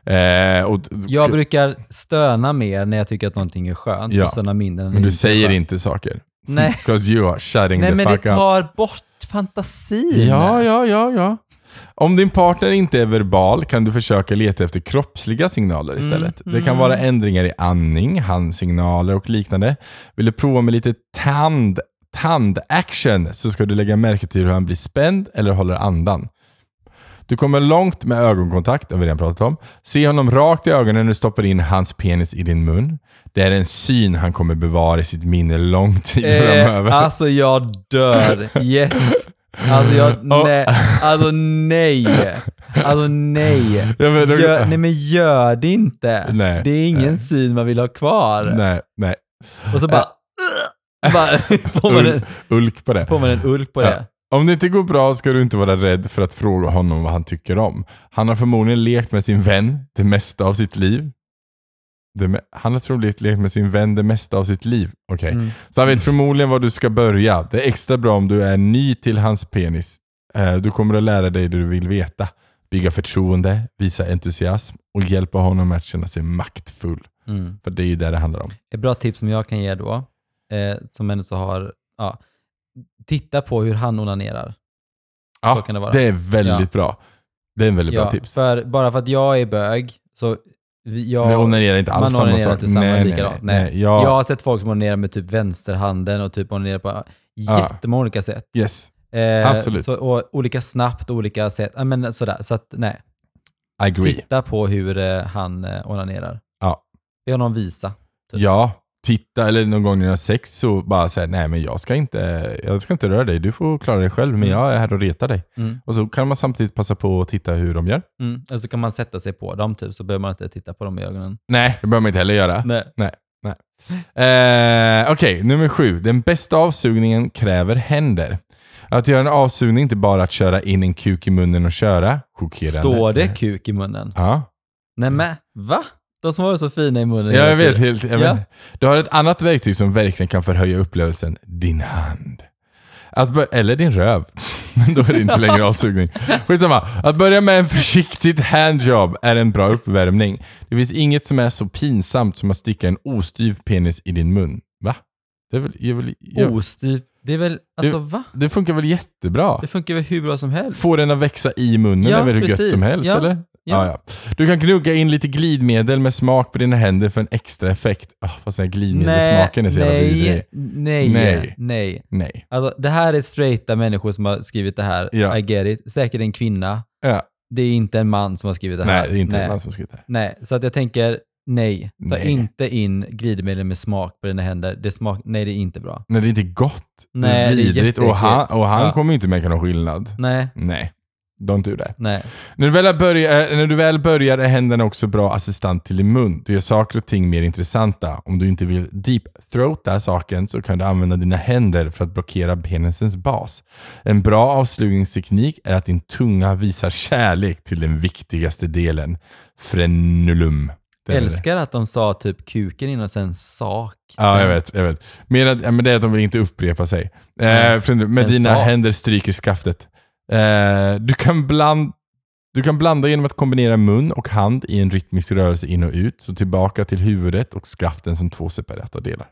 A: Eh, och,
B: Jag brukar stöna mer när jag tycker att någonting är skönt
A: Ja.
B: och stöna mindre när
A: men
B: det
A: du
B: inte är
A: säger
B: skönt.
A: inte saker.
B: Nej,
A: Because you are shutting
B: nej
A: the
B: men det
A: fuck up.
B: tar bort fantasin.
A: Ja, ja, ja, ja. Om din partner inte är verbal kan du försöka leta efter kroppsliga signaler
B: Mm,
A: istället. Det kan vara ändringar i andning, handsignaler och liknande. Vill du prova med lite tand, tandaction så ska du lägga märke till hur han blir spänd eller håller andan. Du kommer långt med ögonkontakt, det har vi redan pratat om. Se honom rakt i ögonen när du stoppar in hans penis i din mun. Det är en syn han kommer bevara i sitt minne lång tid framöver.
B: Eh, alltså jag dör. Yes. Alltså jag,
A: Ja.
B: nej. Alltså nej. Alltså nej.
A: Ja, men-
B: Gör, nej men gör det inte.
A: Nej,
B: det är ingen
A: nej.
B: syn man vill ha kvar.
A: Nej, nej.
B: Och så bara... bara får, man en,
A: Ul- ulk på det.
B: får man en ulk på
A: Ja.
B: det.
A: Om det inte går bra ska du inte vara rädd för att fråga honom vad han tycker om. Han har förmodligen lekt med sin vän det mesta av sitt liv. Det me- han har troligen lekt med sin vän det mesta av sitt liv. Okej.
B: Mm.
A: Så han vet förmodligen var du ska börja. Det är extra bra om du är ny till hans penis. Eh, Du kommer att lära dig det du vill veta. Bygga förtroende, visa entusiasm och hjälpa honom att känna sig maktfull.
B: Mm.
A: För det är ju det det handlar om.
B: Ett bra tips som jag kan ge då, eh, som ändå så har... Ja, titta på hur han onanerar.
A: Ja,
B: Så kan det vara.
A: är väldigt bra. Det är en väldigt bra
B: Ja,
A: tips.
B: För, bara för att jag är bög, så... vi- Jag,
A: Men onanerar inte alls
B: man
A: samma
B: onanerar
A: sak.
B: inte samma likadant. Nej.
A: Jag,
B: Jag har sett folk som onanerar med typ vänsterhanden och typ onanerar på jättemånga olika sätt.
A: Yes,
B: Eh,
A: Absolut.
B: Så, och olika snabbt, olika sätt. Ja, Men sådär. Så att, nej.
A: I agree.
B: Titta på hur eh, han eh, onanerar.
A: Ja.
B: Be honom visa. typ.
A: Ja, titta, eller någon gång när jag har sex så bara säga nej men jag ska inte, jag ska inte röra dig, du får klara dig själv, men
B: Mm.
A: jag är här och retar dig.
B: Mm.
A: Och så kan man samtidigt passa på att titta hur de gör.
B: Mm. Och så kan man sätta sig på dem, typ, så behöver man inte titta på dem i ögonen.
A: Nej, det behöver man inte heller göra.
B: Nej.
A: Eh, Okej, nummer sju. Den bästa avsugningen kräver händer. Att göra en avsugning är inte bara att köra in en kuk i munnen och köra. Chockerande.
B: Står det kuk i munnen?
A: Ja.
B: Nej men, va? De som var så fina i
A: Ja,
B: munnen. hela
A: jag vet.
B: tiden.
A: Helt, jag
B: Ja.
A: vet. Du har ett annat verktyg som verkligen kan förhöja upplevelsen. Din hand. Att bör- eller din röv. Men då är det inte längre avsugning. Skitsamma. Att börja med en försiktigt handjob är en bra uppvärmning. Det finns inget som är så pinsamt som att sticka en ostyv penis i din mun. Va? Det, är väl, jag vill, jag,
B: Ostyrt. Det är väl, alltså va?
A: det funkar väl jättebra?
B: Det funkar väl hur bra som helst?
A: Få den att växa i munnen
B: Ja,
A: är väl hur gött
B: precis.
A: som helst,
B: Ja.
A: eller?
B: Ja.
A: ja. Du kan gnugga in lite glidmedel med smak på dina händer för en extra effekt. Oh, fast den här glidmedelssmaken är så jävla vidrig.
B: nej, nej,
A: Nej.
B: nej,
A: Nej.
B: Alltså det här är straighta människor som har skrivit det här.
A: Ja.
B: I get it. Säkert en kvinna.
A: Ja.
B: Det är inte en man som har skrivit det här.
A: Nej, det är inte en man som skriver det. här.
B: Nej, så att jag tänker nej. Ta
A: Nej.
B: inte in glidmedel med smak på dina händer. Det smak, nej, det är inte bra.
A: Nej, det är inte gott.
B: Nej, det är
A: det är vidrigt. Och han,
B: jätteäckligt.
A: och han
B: Ja.
A: kommer ju inte märka någon skillnad.
B: Nej,
A: Nej. Don't do that.
B: nej.
A: När du, väl har börja- eh, när du väl börjar är händerna också bra assistent till din mun. Du gör saker och ting mer intressanta. Om du inte vill deep-throata saken så kan du använda dina händer för att blockera penisens bas. En bra avslutningsteknik är att din tunga visar kärlek till den viktigaste delen, frenulum. Det är det.
B: Älskar att de sa typ kuken innan och sen sak.
A: Ja,
B: Sen-
A: jag vet. Jag vet. Men, att, ja, men det är att de vill inte upprepa sig. Eh,
B: Nej.
A: för, med
B: En
A: dina
B: sak.
A: händer stryker skaftet. Eh, du, kan bland, du kan blanda genom att kombinera mun och hand i en rytmisk rörelse in och ut, så tillbaka till huvudet och skaften som två separata delar.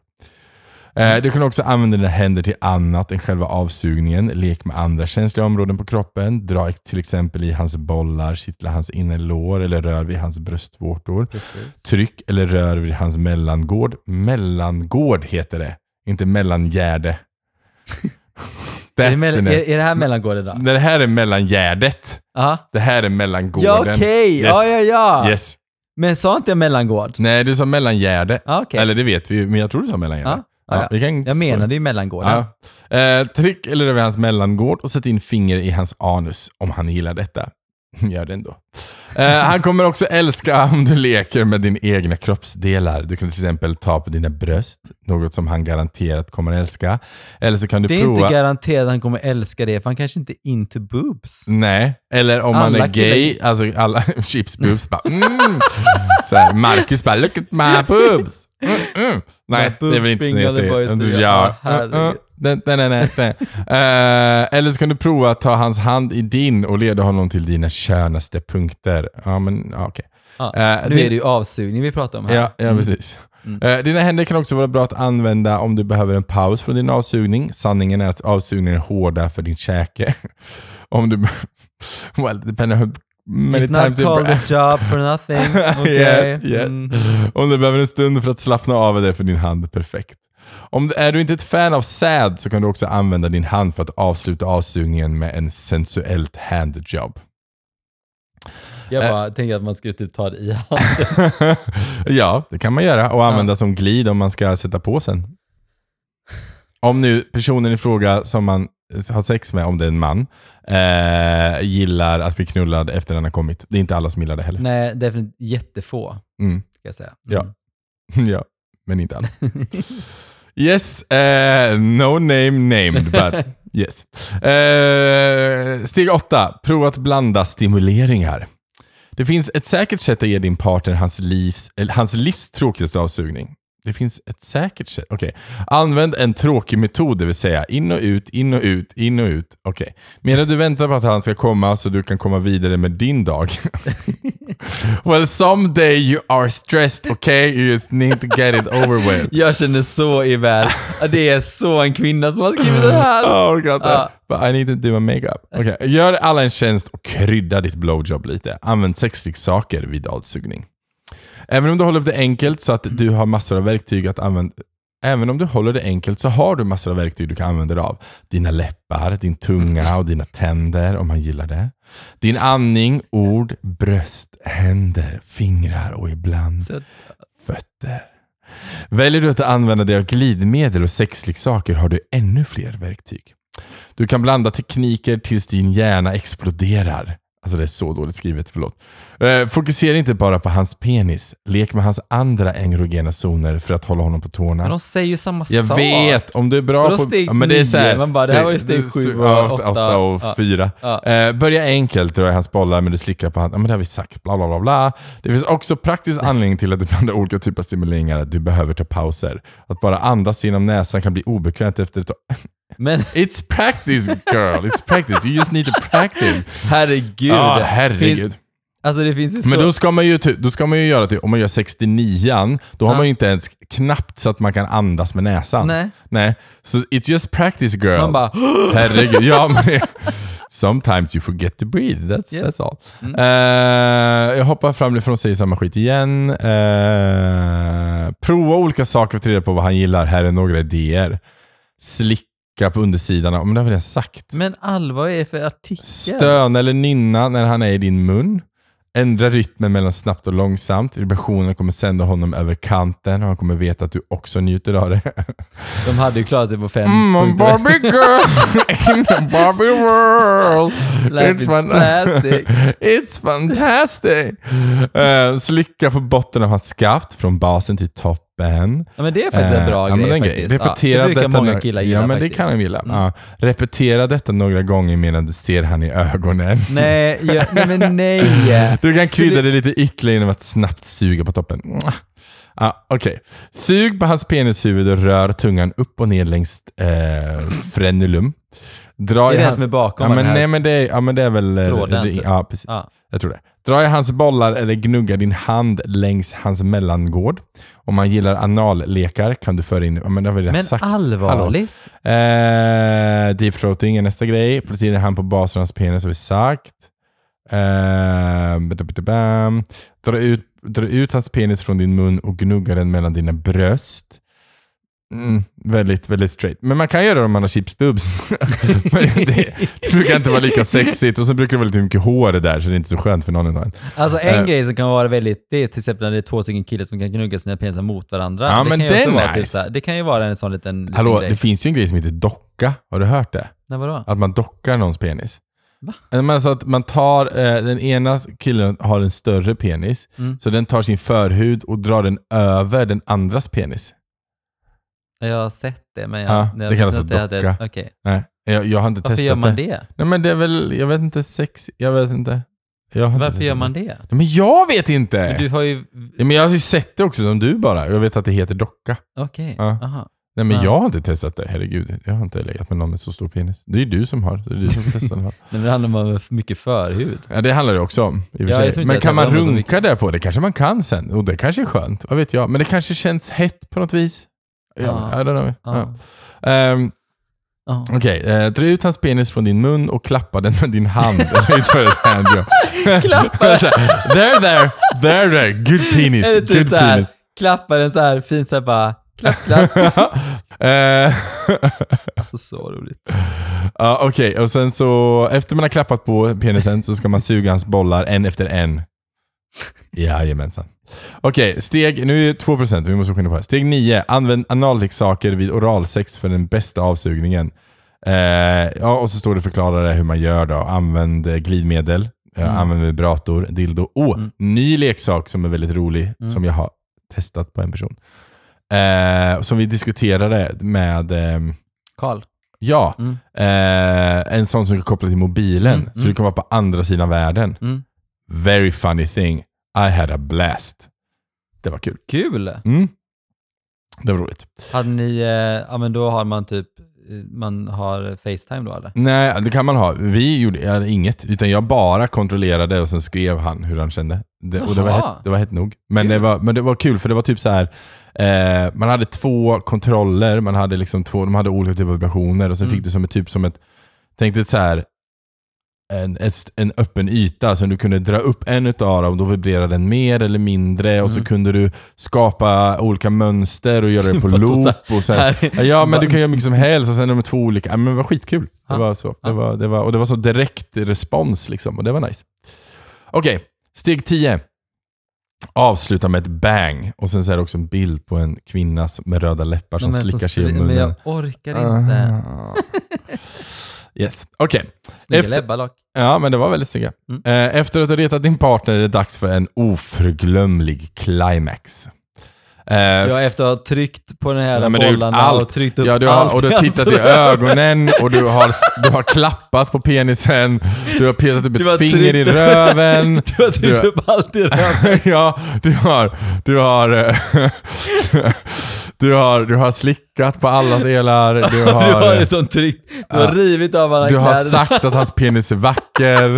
A: Eh, Du kan också använda dina händer till annat än själva avsugningen. Lek med andra känsliga områden på kroppen. Dra till exempel i hans bollar, kittla hans innerlår eller rör vid hans bröstvårtor.
B: Precis.
A: Tryck eller rör vid hans mellangård. Mellangård heter det, inte mellangärde.
B: Är det,
A: That's
B: mell-
A: the name.
B: är, är det här mellangården då?
A: Det här är mellangärdet.
B: Ja.
A: Det här är mellangården.
B: Ja okej,
A: Yes.
B: ja ja ja.
A: Yes.
B: Men sa inte jag mellangård?
A: Nej, du sa mellangärde.
B: Ja, okej.
A: Eller det vet vi ju, men jag tror du sa mellangärde.
B: Ja, ja, ja.
A: vi kan
B: Jag menade ju mellangården.
A: Ja. Eh, tryck eller över hans mellangård och sätt in finger i hans anus om han gillar detta. Gör det ändå. Eh, han kommer också älska om du leker med dina egna kroppsdelar. Du kan till exempel ta på dina bröst, något som han garanterat kommer älska. Eller så kan du
B: Det är
A: prova...
B: inte garanterat att han kommer älska det, för han kanske inte är into boobs.
A: Nej, eller om man
B: Alla
A: är gay, alltså alla chips boobs bara mm. så här, Marcus bara look at my boobs. Mm, mm. Nej,
B: My
A: det är
B: boobs
A: väl inte så
B: being other boys,
A: jätte-
B: ja.
A: Ja,
B: Herregud.
A: Mm, mm. Nej, nej, nej, nej. Eh, Eller så kan du prova att ta hans hand i din och leda honom till dina skönaste punkter. Ja, men ja, okej.
B: Ja.
A: Eh,
B: nu
A: din-
B: är det ju avsugning vi pratar om här.
A: Ja, ja precis.
B: Mm.
A: Eh, dina händer kan också vara bra att använda om du behöver en paus från din avsugning. Sanningen är att avsugningen är hårda för din käke. om du... Well, depending on how many
B: It's
A: times
B: not
A: you
B: called a
A: breath.
B: job for nothing. Okej.
A: Yes, yes.
B: Mm.
A: Om du behöver en stund för att slappna av är det för din hand perfekt. Om du, är du inte ett fan av säd så kan du också använda din hand för att avsluta avsugningen med en sensuellt handjob.
B: Jag bara tänker att man skulle typ ta det i handen.
A: ja, det kan man göra och använda som glid om man ska sätta på sen. Om nu personen i fråga som man har sex med, om det är en man, eh, gillar att bli knullad efter den har kommit. Det är inte alla som gillar det heller.
B: Nej, definitivt jättefå.
A: Mm.
B: Ska jag säga.
A: Ja. ja, men inte alla. yes, eh, no name named, but yes. Eh, steg 8. Prova att blanda stimuleringar. Det finns ett säkert sätt att ge din partner hans livs, eller hans livs tråkigaste avsugning. Det finns ett säkert sätt. Okej. Använd en tråkig metod, det vill säga in och ut, in och ut, in och ut. Okej. Medan du väntar på att han ska komma så du kan komma vidare med din dag. well, someday you are stressed, okay? You just need to get it over with.
B: Jag känner så i värld. Det är så en kvinna som har skrivit det här.
A: Oh, God,
B: Ja.
A: But I need to do my makeup. Okay. Gör alla en tjänst och krydda ditt blowjob lite. Använd sexleksaker vid avsugning. Även om du håller det enkelt så att du har massor av verktyg att använda Även om du håller det enkelt så har du massor av verktyg du kan använda dig av. Dina läppar, din tunga och dina tänder om man gillar det. Din andning, ord, bröst, händer, fingrar och ibland
B: Så-
A: fötter. Väljer du att använda dig av glidmedel och sexleksaker har du ännu fler verktyg. Du kan blanda tekniker tills din hjärna exploderar. Alltså det är så dåligt skrivet, förlåt. Eh, fokusera inte bara på hans penis. Lek med hans andra erogena zoner för att hålla honom på tårna.
B: Men de säger ju samma
A: Jag
B: sak.
A: vet, om du är bra
B: Vadå
A: på...
B: steg
A: men det är så här,
B: nio? Man bara, det här var ju steg
A: st-
B: sju och
A: ja,
B: åtta.
A: åtta och
B: Ja.
A: fyra.
B: Ja.
A: Eh, börja enkelt, dra i hans bollar men du slickar på hans... Ja, men det har vi sagt, bla bla bla. bla. Det finns också praktisk anledning till att du blandar olika typer av stimuleringar, att du behöver ta pauser. Att bara andas genom näsan kan bli obekvämt efter ett tag.
B: Men
A: It's practice girl, it's practice. You just need to practice.
B: herregud.
A: Ja, herregud.
B: Finns, alltså det finns ju
A: Men
B: så...
A: då ska, man ju, ty- då ska man ju göra typ, om man gör 69an, då har man ju inte ens knappt så att man kan andas med näsan.
B: Nej.
A: Nej. Så it's just practice girl.
B: Man bara...
A: Herregud. Ja, men det, sometimes you forget to breathe. That's,
B: Yes. Mm.
A: that's all. Eh, jag hoppar fram ifrån och säger samma skit igen. Eh, prova olika saker för att ta reda på vad han gillar. Här är några idéer. Slicka på undersidan. av- Men det har vi redan sagt.
B: Men allvar är det för artikel?
A: Stöna eller nynna när han är i din mun. Ändra rytmen mellan snabbt och långsamt. Vibrationen kommer sända honom över kanten och han kommer veta att du också njuter av det.
B: De hade ju klarat det på fem
A: Mm,
B: punkter.
A: Barbie girl in the Barbie world.
B: Life is plastic.
A: It's fantastic. Eh, slicka på botten av hans skaft från basen till toppen.
B: Ja, men det är faktiskt en bra
A: Eh, ja,
B: grej
A: men en
B: faktiskt.
A: Repetera
B: ja, det brukar
A: detta
B: många
A: några-
B: killar gilla
A: Ja, men
B: faktiskt. Mm.
A: det kan de gilla. Ja. Repetera detta några gånger medan du ser han i ögonen.
B: Nej, jag, nej men nej.
A: Du kan
B: Så
A: krydda
B: det-
A: det lite ytterligare genom att snabbt suga på toppen. Mwah. Ah, Okej. Sug på hans penishuvud och rör tungan upp och ner längs eh, frenulum. Dra
B: Det är
A: i
B: den
A: hans-
B: som är bakom
A: ja, men,
B: den här.
A: nej, men det, är- ja, men det är väl... eh,
B: Tråden,
A: ring-
B: typ.
A: ja, precis.
B: Ja.
A: Jag tror det. Dra i hans bollar eller gnugga din hand längs hans mellangård. Om man gillar anallekar kan du föra in... Ja, men det har vi redan
B: Men
A: sagt.
B: allvarligt?
A: Eh, deep throating är nästa grej. Placerar hand på basen av hans penis har vi sagt. Eh, ba-da-ba-da-bam. dra, ut, dra ut hans penis från din mun och gnugga den mellan dina bröst. Mm, väldigt, väldigt straight. Men man kan göra det om man har chips boobs. Men det, det brukar inte vara lika sexigt och så brukar det vara lite mycket hår där så det är inte så skönt för någon annan.
B: Alltså en
A: Eh.
B: grej som kan vara väldigt, det är till exempel när det är två stycken killar som kan knugga sina penisar mot varandra.
A: Ja, men
B: kan ju också
A: det är
B: vara
A: nice.
B: till så här- Det kan ju vara en sån liten, liten
A: Hallå,
B: grej.
A: det finns ju en grej som heter docka. Har du hört det?
B: Nej, vadå?
A: Att man dockar någons penis.
B: Va?
A: Eh, Men så att man tar, eh, den ena killen har en större penis,
B: Mm.
A: så den tar sin förhud och drar den över den andras penis.
B: Jag har sett det, men jag...
A: Ja,
B: jag
A: det kallas
B: visste inte
A: att
B: att det
A: docka.
B: hade- Okej.
A: Nej, jag, jag har inte
B: Varför
A: testat
B: gör man det?
A: Nej men det är väl, jag vet inte, sex, jag vet inte. Jag har inte
B: Varför
A: testat
B: gör man det?
A: Nej, Men jag vet inte!
B: Men du har ju...
A: Ja, men jag har ju sett det också som du bara. Jag vet att det heter docka.
B: Okej,
A: Ja.
B: aha.
A: Nej men
B: Ja.
A: jag har inte testat det. Herregud, jag har inte legat med någon med så stor penis. Det är ju du som har. Det är du som får testa den här.
B: Nej, men det handlar om mycket förhud.
A: Ja, det handlar det också om. I och
B: Ja,
A: för
B: jag tror
A: sig.
B: inte
A: Men
B: att
A: kan
B: det
A: man
B: var så
A: runka
B: mycket.
A: där på? Det kanske man kan sen. Och det kanske är skönt. Vad vet jag. Men det kanske känns hett på något vis. Ja,
B: Ja.
A: I don't know.
B: Ja.
A: Ja. Ehm,
B: Ja.
A: Okej, eh, dra ut hans penis från din mun och klappa den med din hand. Eller utför ett handjobb.
B: Klappa
A: Så här, there, there, there, there. Good penis.
B: Eller typ
A: Good
B: så här,
A: penis.
B: klappar den så här fint så här bara, klapp, klapp.
A: Eh,
B: Alltså så roligt.
A: Ja, okej. Och sen så, efter man har klappat på penisen så ska man suga hans bollar en efter en. Jajamensan. Okej, steg... Nu är det 2%, vi måste skynda på här. Steg 9. Använd analleksaker vid oralsex för den bästa avsugningen. Eh, ja, och så står det förklarare hur man gör då. Använd eh, glidmedel, eh,
B: Mm.
A: använd vibrator, dildo. Åh, oh,
B: Mm.
A: ny leksak som är väldigt rolig,
B: Mm.
A: som jag har testat på en person. Eh, som vi diskuterade med... ehm,
B: Karl.
A: ja,
B: Mm.
A: Eh, en sån som kan koppla till mobilen.
B: Mm,
A: så
B: mm.
A: du kan vara på andra sidan världen.
B: Mm.
A: Very funny thing. I had a blast. Det var kul.
B: Kul!
A: Mm. Det var roligt.
B: Hade ni, eh, ja men då har man typ, eh, man har Facetime då eller?
A: Nej, det kan man ha. Vi gjorde jag hade inget, utan jag bara kontrollerade och sen skrev han hur han kände. Det, och det var,
B: Jaha.
A: hett, det var hett nog. Men
B: Kul.
A: det var, men det var kul, för det var typ så här. Eh, man hade två kontroller, man hade liksom två, de hade olika typer av vibrationer och så
B: Mm.
A: fick du som ett typ som ett, tänk dig så här en, en st- en öppen yta som du kunde dra upp en utav dem, då vibrerade den mer eller mindre och så
B: Mm.
A: kunde du skapa olika mönster och göra det på
B: Fast så
A: loop. Och så här, Ja, Ja, men du kan göra mycket som helst och sen är de två olika. Ja, Men det var skitkul.
B: Ja.
A: Det var så.
B: Ja.
A: Det var, det var, och det var så direkt respons liksom och det var nice. Okej, steg 10. Avsluta med ett bang. Och sen så är det också en bild på en kvinna som- med röda läppar som
B: Nej, men
A: slickar
B: så
A: sig i
B: sli-
A: munnen.
B: Men jag orkar inte.
A: Ah. Yes, okej.
B: Snygga
A: Efter-
B: läppar
A: Ja, men det var väldigt snygga.
B: Mm.
A: Eh, Efter att ha retat din partner är det dags för en oförglömlig climax. Eh,
B: Jag efter att ha tryckt på den här
A: Nej, men du har gjort
B: bollarna och
A: allt.
B: tryckt upp
A: ja, du har,
B: allt.
A: och du har
B: i
A: tittat i
B: hans
A: ögonen och du har, du har klappat på penisen. Du har petat upp
B: Du har
A: ett finger i
B: tryckt-
A: röven.
B: Du har tryckt
A: Du-
B: upp allt i röven.
A: ja, du har, du har, eh, du har, du har slickat på alla delar. Du
B: Du har
A: har, eh,
B: liksom tryckt, du har
A: Ja.
B: rivit av alla
A: du har
B: kläder.
A: sagt att hans penis är vacker.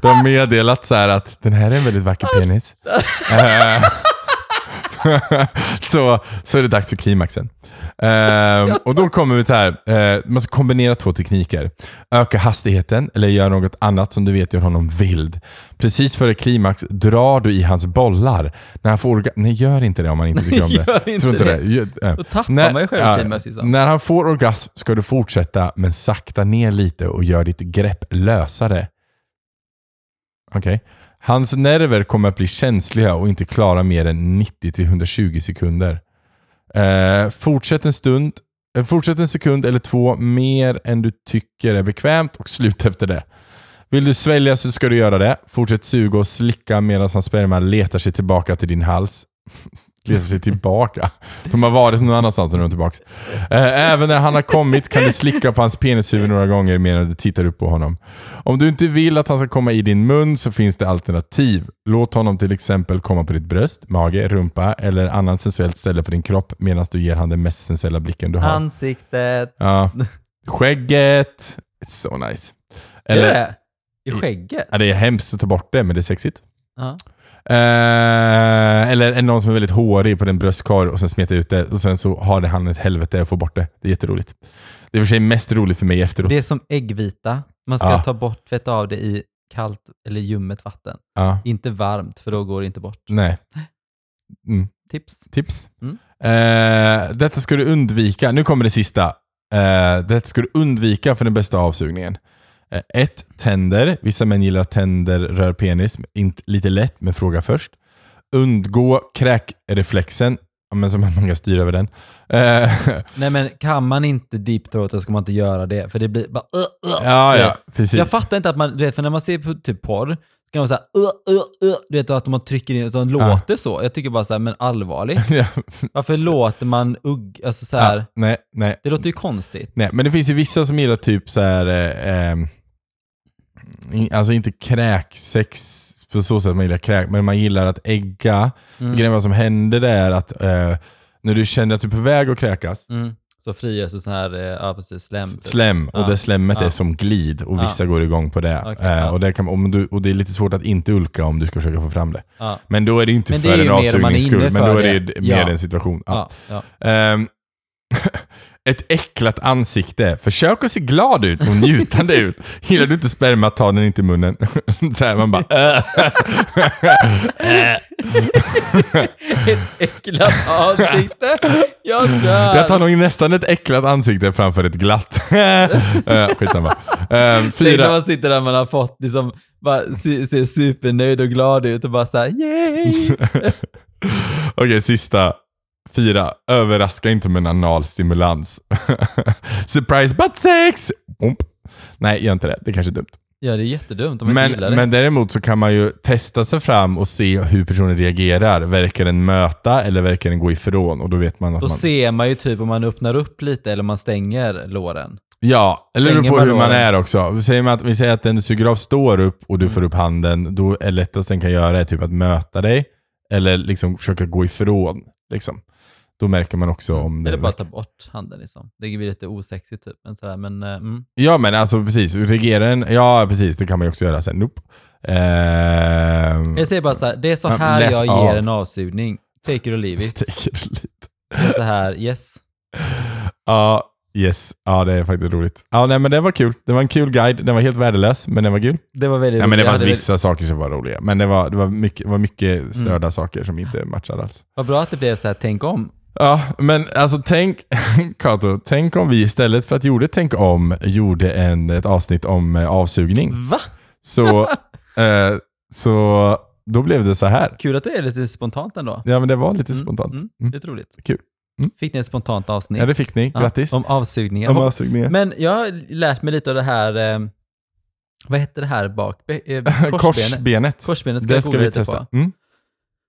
A: Du har meddelat så här att den här är en väldigt vacker penis. Eh, så, så är det dags för klimaxen. Eh, och då kommer vi till här, eh, man ska kombinera två tekniker. Öka hastigheten eller göra något annat som du vet gör honom vild. Precis före klimax drar du i hans bollar. När han får orga- Nej, gör inte det om man inte tycker om det.
B: Gör inte
A: Tror inte det.
B: det.
A: Gör- eh.
B: Då tappar
A: När-
B: man ju själv
A: ja,
B: klimax liksom.
A: När han får orgasm ska du fortsätta, men sakta ner lite och gör ditt grepp lösare. Okej. Hans nerver kommer att bli känsliga och inte klara mer än 90-120 sekunder. Eh, fortsätt en stund, eh, fortsätt en sekund eller två mer än du tycker är bekvämt och slut efter det. Vill du svälja så ska du göra det. Fortsätt suga och slicka medan hans sperma letar sig tillbaka till din hals. letar sig tillbaka? De har varit någon annanstans och nu är de tillbaka. Eh, även när han har kommit kan du slicka på hans penishuvud några gånger medan du tittar upp på honom. Om du inte vill att han ska komma i din mun så finns det alternativ. Låt honom till exempel komma på ditt bröst, mage, rumpa eller annan sensuellt ställe på din kropp medan du ger han den mest sensuella blicken du har.
B: Ansiktet.
A: Ja. Skägget. So nice.
B: Eller? Är
A: Eller,
B: det? I skägget?
A: ja, det är hemskt att ta bort det, men det är sexigt.
B: Ja.
A: Eh, eller är någon som är väldigt hårig på den bröstkorg och sen smetar ut det och sen så har det han ett helvete att få bort det. Det är jätteroligt. Det är i och för sig mest roligt för mig efteråt.
B: Det är som äggvita. Man ska
A: Ja.
B: ta bort, tvätta av det i kallt eller ljummet vatten.
A: Ja.
B: Inte varmt, för då går det inte bort.
A: Nej. Mm.
B: Tips.
A: Tips.
B: Mm.
A: Eh, detta ska du undvika. Nu kommer det sista. Eh, detta ska du undvika för den bästa avsugningen. Eh, ett, tänder. Vissa män gillar att tänder rör penis. Inte, lite lätt, men fråga först. Undgå kräkreflexen. Ja, men som många styr över den. Eh,
B: Nej men kan man inte deepthroata ska man inte göra det, för det blir bara... Uh, uh.
A: ja, ja, precis.
B: Jag fattar inte att man, du vet, för när man ser på typ porr, så kan man säga uh, uh, uh, du vet att man trycker in, så de låter så. Jag tycker bara såhär, men allvarligt.
A: ja,
B: Varför låter man ugg, alltså såhär,
A: ja, nej, nej.
B: det låter ju konstigt.
A: Nej, men det finns ju vissa som gillar typ så här, eh, ehm, i- alltså inte kräksex på så sätt man gillar kräk, men man gillar att ägga.
B: Mm.
A: Grejen vad som händer det är att eh, när du känner att du är på väg att kräkas,
B: Mm. Så frigörs det sån här, eh, ja precis, slem. typ.
A: slem, och
B: Ja.
A: det slemmet
B: Ja.
A: är som glid och vissa går igång på det.
B: Okej,
A: eh,
B: ja.
A: och, det kan, om du, och det är lite svårt att inte ulka om du ska försöka få fram det.
B: Ja.
A: Men då är det ju inte
B: Men det är
A: för
B: ju
A: en
B: mer om man är
A: avsugnings
B: inne
A: skull, men
B: för
A: då är det
B: det.
A: ju mer
B: Ja.
A: en situation. Ja.
B: Ja, ja.
A: Ehm, ett äcklat ansikte. Försök att se glad ut och njutande ut. Gillar du inte sperma, ta den inte i munnen. Så här, man bara... "Äh."
B: Äcklat ansikte. Jag dör.
A: Jag tar nog nästan ett äcklat ansikte framför ett glatt. Eh, Skitsamma. Ehm,
B: Tänk när
A: fyra...
B: man sitter där man har fått, liksom, bara se- ser supernöjd och glad ut och bara såhär yay!
A: Okej, sista. Fyra. Överraska inte med en analstimulans. Surprise butt sex! Omp. Nej, gör inte det. Det är kanske är dumt.
B: Ja, det är jättedumt om man inte
A: Men,
B: gillar det.
A: men däremot så kan man ju testa sig fram och se hur personen reagerar. Verkar den möta eller verkar den gå ifrån? Och då vet man att
B: Då
A: man...
B: ser man ju typ om man öppnar upp lite eller om man stänger låren.
A: Ja, eller det beror på
B: Slänger man
A: hur man
B: då? Mm.
A: är också. Vi säger, man att, vi säger att den du suger av står upp och du får upp handen. Då är lättast den kan göra är typ att möta dig eller liksom försöka gå ifrån. Liksom. Då märker man också om
B: Eller
A: den-
B: bara ta bort handen liksom. Det blir lite osexigt typ. Men, sådär, men eh, mm.
A: Ja men alltså precis, reagerar den... Ja precis, det kan man ju också göra sen. Nope. Ehm,
B: Jag säger bara såhär, det är så
A: Ja,
B: här
A: läs
B: jag
A: av.
B: ger en avsugning. Take it or leave it.
A: Take it lite.
B: Det är så här, yes.
A: Ja, yes. Ja, det är faktiskt roligt. Ja, nej, men det var kul. Det var en kul guide. Den var helt värdelös, men den var kul.
B: Det var Mm. väldigt
A: Nej, men det
B: roligt. Jag
A: fanns
B: hade väl-
A: vissa saker som var roliga, men det var, det var mycket, det var mycket störda saker som inte matchade alls.
B: Vad bra att det blev så här, tänk om.
A: Ja, men alltså tänk, Kato, tänk om vi istället för att gjorde Tänk om gjorde en, ett avsnitt om eh, avsugning.
B: Va?
A: Så, eh, så då blev det så här.
B: Kul att det är lite spontant ändå.
A: Ja, men det var lite
B: Mm,
A: spontant.
B: mm,
A: Mm.
B: Det är roligt.
A: Kul. Mm.
B: Fick ni ett spontant avsnitt?
A: Ja, det fick ni.
B: Ja,
A: Grattis.
B: om avsugningar.
A: om
B: Hopp-
A: avsugningar.
B: Men jag har lärt mig lite av det här, eh, vad heter det här bak? Be- eh, korsbenet.
A: Korsbenet.
B: Korsbenet ska
A: Det
B: jag
A: ska
B: googla
A: vi
B: lite
A: testa.
B: på.
A: Mm.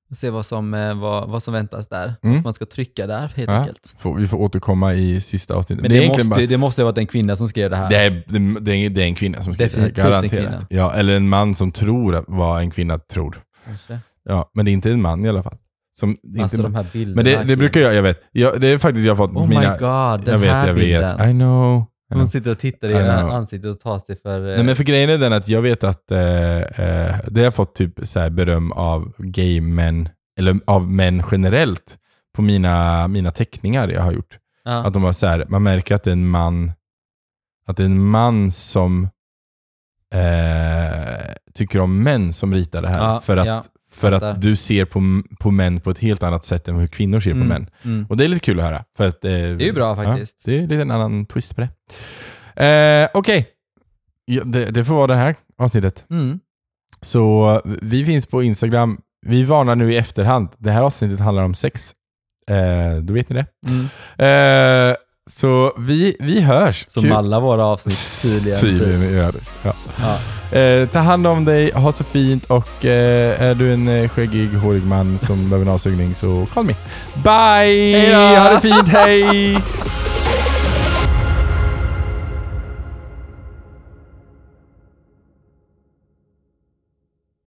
B: Och se vad som, eh, vad, vad som väntas där.
A: Mm.
B: Man ska trycka där helt
A: Ja.
B: enkelt.
A: Får, vi får återkomma i sista avsnittet.
B: Men
A: det, är
B: det,
A: egentligen
B: måste,
A: bara,
B: ju- det måste ju ha varit en kvinna som skrev det här.
A: det, är, det, är, det är en kvinna som skriver det, här,
B: Definitivt en
A: garanterat.
B: kvinna.
A: Ja, eller en man som tror att- vad en kvinna tror.
B: Kanske.
A: Ja, men det är inte en man i alla fall. Som, inte
B: Alltså
A: en
B: de
A: man.
B: här bilderna.
A: men det, det brukar jag, jag vet. Jag, det är faktiskt jag har fått
B: Oh
A: mina...
B: my god, den
A: jag vet,
B: här
A: jag
B: bilden.
A: vet. I know. I know.
B: Hon sitter och tittar i
A: I know.
B: ena ansiktet och tar sig för... eh,
A: Nej, men för grejen är den att jag vet att eh, eh, det har jag fått typ så här beröm av gay-män, eller av män generellt, på mina, mina teckningar jag har gjort.
B: ja.
A: Att de var så här, man märker att det är en man, att det är en man som eh, tycker om män som ritar det här.
B: Ja,
A: för att,
B: ja,
A: för
B: fattar.
A: att du ser på, på män på ett helt annat sätt än hur kvinnor ser
B: Mm,
A: på män.
B: mm.
A: Och det är lite kul att höra. För att, eh,
B: Det är ju bra faktiskt.
A: Ja, det är lite en annan twist på det. Eh, Okej, ja, det, det får vara det här avsnittet.
B: Mm.
A: Så vi finns på Instagram. Vi varnar nu i efterhand. Det här avsnittet handlar om sex. Eh, då vet ni det.
B: Mm.
A: Eh, så vi, vi hörs.
B: Som
A: Kul.
B: alla våra avsnitt tydligen.
A: Tydligen gör det. Ja.
B: Ja.
A: Eh, ta hand om dig, ha så fint och eh, är du en eh, skäggig, hårig man som behöver en avsugning så call me. Bye!
B: Hej då!
A: Ha det fint, hej!